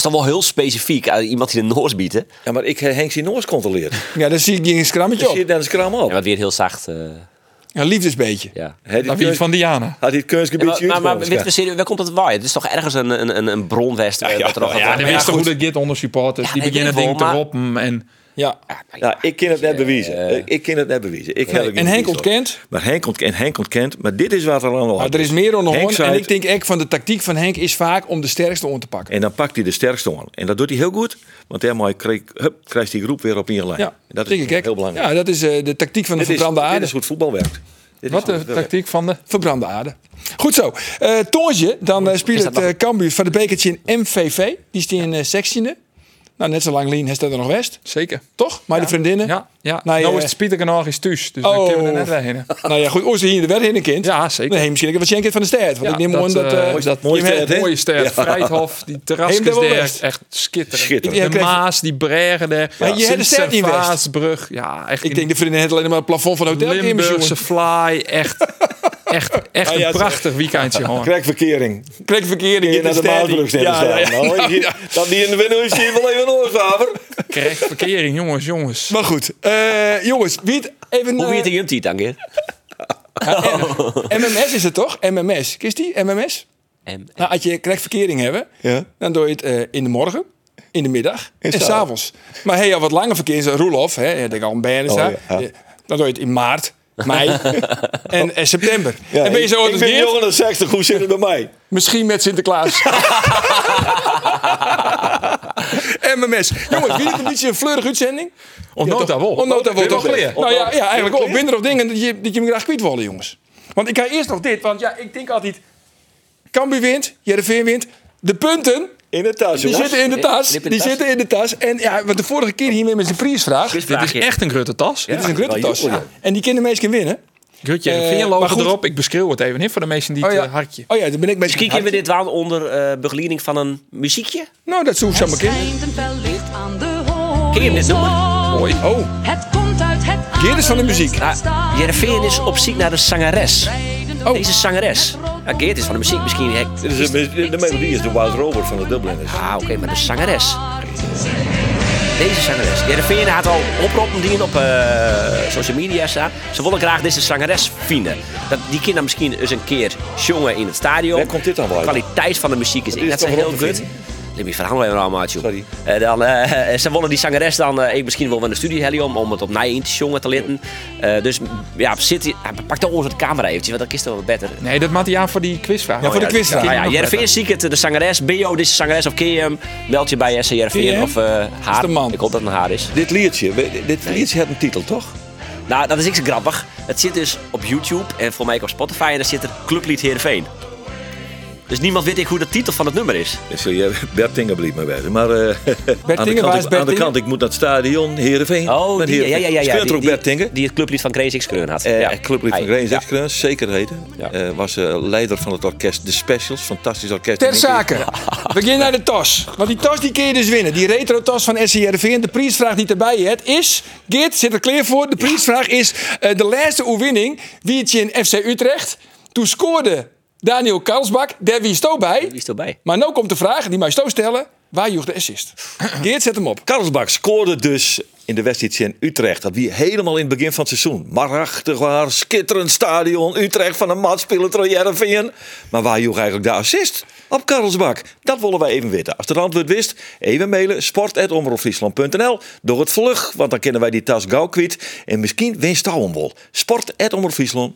E: is dan wel heel specifiek aan iemand die de Noors biedt. hè?
C: ja maar ik heb Henk Sinoors controleerd.
A: Ja, dan zie ik je een
C: Dus
A: skrammetje
C: zie je
A: op.
C: dan eens kram op.
E: Ja, wat weer heel zacht. eh,
A: Een liefdesbeetje.
E: ja.
C: Had die
D: dat wie
C: keus-
D: van Diana.
C: Had hij het kunstgebiedje
E: maar, maar, maar weet
C: uitgevonden?
E: we serieus, waar komt dat waaien? Het is toch ergens een, een, een, een bron west. eh, wat er nog-
D: Ja, de
E: Ja,
D: wisten
E: goed.
D: hoe dat dit onder supporters.
E: Ja,
D: die
E: nee,
D: beginnen
E: weet ik
D: dingen te
E: wel,
D: roppen. En
A: Ja.
C: Ja, Nou, ik kan het net bewijzen. Ik kan het net bewijzen. Ik heb het
A: En
C: niet bewezen,
A: Henk
C: hoor.
A: ontkent.
C: Maar Henk ontkent, en Henk ontkent, maar dit is wat er aan de hand
A: Maar er is meer dan
C: Henk
A: nog
C: zei
A: En
C: het,
A: ik denk echt van de tactiek van Henk is vaak om de sterkste om te pakken.
C: En dan pakt hij de sterkste aan. En dat doet hij heel goed, want daarmee kreeg- hup, krijgt die groep weer op één lijn.
A: Ja,
C: dat
A: denk
C: is
A: ik echt.
C: heel belangrijk.
A: Ja, dat is eh, de tactiek van de
C: dit, is,
A: verbrande
C: dit
A: aarde.
C: is hoe het voetbal werkt. Dit is
D: Wat de
C: goed werk.
D: tactiek van de...
A: Verbrande aarde. Goed zo. Eh Toontje, dan eh speelt het eh, Cambuur van de bekertje in MVV. Die is in eh 16e. Nou, net zo lang Lien heeft dat er nog West.
D: Zeker.
A: Toch? Maar de vriendinnen.
D: Ja, ja.
A: Nou,
D: nou,
A: je- Oh.
D: is het Spieterkanaal is thuis, dus dan kunnen we er net weer heen.
A: Nou ja, goed. Oors hier in de werd in een kind.
D: Ja, zeker.
A: Nee, misschien ook wat Schenk van de stad. Want
D: Ja,
A: ik neem
D: dat,
A: aan dat...
D: eh,
A: eh,
D: dat
A: je hebt-
D: mooie mooie ster, Vrijthof, die terrasjes
A: Helemaal
D: daar,
A: west.
D: echt schitterend.
C: Schitterend.
A: Ja,
D: De
A: kijk.
D: Maas, die bregen daar,
A: Maar je hebt de ster niet west.
D: Sint-Servaasbrug, ja, echt
A: Ik denk de vrienden het alleen maar het plafond van het hotel. kunnen
D: Limburgse
A: bezoeken.
D: fly, echt, echt, echt
A: Nou ja,
D: een
A: ze-
D: prachtig weekendje hoor.
C: Krijgverkering.
A: Krijg verkeering in de
C: naar de
A: stad.
C: Maasbrug net
A: Ja, ja, ja.
C: Nou,
A: Nou,
C: hier-
A: ja.
C: Dat die in de winnaar is hier wel even een oorzaver.
D: Krijg verkering, jongens, jongens.
A: Maar goed. Eh, jongens, wie het even...
E: Hoe
A: eh,
E: weet je het dan, keer?
A: MMS is het toch? MMS. Kist die? MMS? Nou, als je krijgt verkering hebben,
C: Ja.
A: dan doe je het eh, in de morgen, in de middag en
C: s'avonds.
A: s'avonds. Maar hey, al wat langer verkeer is Roelof, hè, ik denk al een band
C: Oh, ja.
A: Dan doe je het in maart, mei en, en september.
C: Ja,
A: en ben je zo
C: ik, ik ben
A: georganiseerd?
C: jonger dan 60, hoe zit het bij mij?
A: Misschien met Sinterklaas. MMS. Jongens, wie de conditie een fleurige uitzending?
D: Of nota wel.
A: Onnota wordt toch
D: Weer.
A: Nou ja, ja eigenlijk wel. Winder of dingen dat je, dat je me graag kwijt willen, jongens. Want ik ga eerst nog dit, want ja, ik denk altijd... Cambuur wint, Jereveen wint. De punten,
C: In de tas,
A: die
C: jongens.
A: zitten in de tas. Die zitten in de tas. En ja, want de vorige keer hiermee met zijn prijsvraag. Dit
D: Dit is echt een grote tas.
A: is een gruttentas. En die kunnen mensen winnen.
D: Grutje
A: Eh,
D: en
A: maar
D: vingerlogen
A: goed.
D: erop. Ik beschreeuw het even in voor de mensen die
A: Oh
D: het
A: ja.
D: eh, hartje.
A: Oh ja, dan ben ik met
E: Misschien kunnen Dus we dit wel onder eh, begeleiding van een muziekje.
A: Nou, dat hoeft zo maar kind.
M: Schijnt een fel licht aan de horizon.
E: Ken je hem dit nummer?
A: Mooi. Oh,
M: Het komt uit het
A: Geert is van de muziek.
E: Nou, Jereveen is op zoek naar de zangeres. Deze zangeres. Nou, Geert is van de muziek misschien. hè.
C: Dit is de, de melodie is de Wild Robert van de Dus Dubliners.
E: Ah, oké, maar de zangeres. Deze zangeres. Jereveen had al oproepen die op eh, social media staan. Ze willen graag deze zangeres vinden. Dat, die kinderen misschien eens een keer jongen in het stadion.
C: Waar komt dit dan
E: De
C: wel uit?
E: kwaliteit van de muziek is,
C: is
E: ik dat ze
C: toch
E: heel
C: wel te
E: goed.
C: vinden?
E: Let me verhandelen even allemaal,
C: Sorry.
E: Eh, dan, eh, ze willen die zangeres dan eh, ik misschien wel naar de studie hellen om, om het op mij in te jongen te litten. Eh, dus ja, zit hij, pak toch onze camera eventjes, want dat is toch wel beter.
C: Oh,
D: Nee, dat maakt hij aan voor die quizvraag.
A: Ja, voor de quizvraag.
E: Nou ja,
D: nog
E: Jervin zie ik het, de zangeres. BO, deze zangeres of KM. Meld je bij SC Jervin
A: KM?
E: of eh, haar.
A: de man.
E: Ik hoop dat het een haar is.
C: Dit liedje, we- dit liedje heeft een titel, toch?
E: Nou, dat is ik zo grappig. Het zit dus op YouTube en voor mij ook op Spotify. En daar zit er Clublied Heerenveen. Dus niemand weet ik hoe de titel van het nummer is.
C: Dus, eh, Bert Tinger bleef me bij. Maar eh, aan, de
A: Tinger, waar is
C: kant, ik,
A: Bert
C: aan de
A: Tinger?
C: kant, ik moet naar het stadion, Heerenveen.
E: Oh,
C: Met
E: die, ja, ja,
C: Heerenveen.
E: ja. ja,
C: Speelt
E: die-
C: er ook
E: die-
C: Bert Tinger?
E: Die het clublied van Crazy X Kreun had.
C: Eh
E: ja.
C: Clublied van
E: Hij-
C: Grains
E: ja.
C: Excrens, zeker weten.
E: Ja.
C: Eh, was eh, leider van het orkest De Specials, fantastisch orkest.
A: Ter
C: In één keer-
A: zake. We gaan naar de tas. Want die tas die kun je dus winnen. Die retro tas van SCRV. De prijsvraag die erbij het is... Geert zit er clear voor. De prijsvraag is eh, de laatste oewinning. Wie het in FC Utrecht. Toen scoorde Daniel Kalsbak. Daar wie sto bij.
E: Wie is erbij?
A: Maar nu komt de vraag die mij sto stellen. Waar joeg de assist? Geert, zet hem op.
C: Karlsbach scoorde dus in de wedstrijd in Utrecht. Dat wie helemaal in het begin van het seizoen. Marachtig waar, schitterend stadion. Utrecht van een maatspiller tegen Heerenveen. Maar waar joeg eigenlijk de assist op Karlsbach? Dat willen wij even weten. Als de antwoord wist, even mailen sport.omroepfriesland.nl door het vlug. Want dan kennen wij die tas gauw kwijt. En misschien winst hij hem wel. Sport.omroepfriesland.nl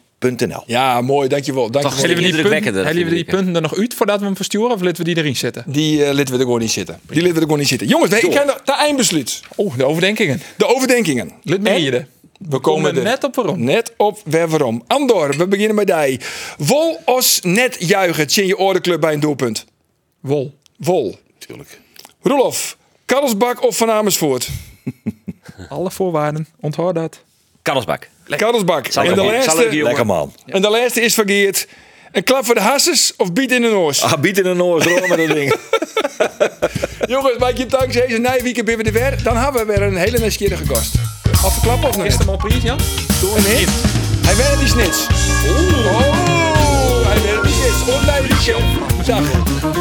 A: Ja, mooi. Dankjewel.
E: Toch
A: dankjewel.
D: Hebben we die punten,
E: Indrukwekkender,
D: hebben we die
E: vind ik, hè.
D: punten er nog uit voordat we hem versturen of laten we die erin zetten?
A: Die eh laten we er gewoon niet zitten. Die laten we er gewoon niet zitten. Jongens, nee, ik ga naar de eindbesluit.
D: Oh, de overdenkingen.
A: De overdenkingen.
D: Lid me
A: En
D: hier.
A: We komen er
D: net op waarom.
A: Net op waar waarom. Andor, we beginnen bij die. Wol os net juichen, tjen je oordenclub bij een doelpunt.
D: Wol.
A: Wol. Tuurlijk. Roelof, Karlsbak of Van Amersfoort?
D: Alle voorwaarden. Onthoud dat.
E: Karlsbak.
A: Karlsbak.
E: Zal ik
A: En de,
E: hem- zal ik die
A: laatste,
E: jongen-
C: Lekker man.
A: en de laatste is van Geert. Een klap voor de hasses of biet in de noos?
C: Ah, bied in een oor, zo met dat ding.
A: Jongens, maak je tanks eens. Een nijweekend binnen de weer. Dan hebben we weer een hele nieuwsgierige gast. Afklappen of niet?
D: Is hem al prijs, Jan?
A: Een hit. Hij werd die snits. Oeh. Oh, hij werd die snits. Onduidelijk. Dag.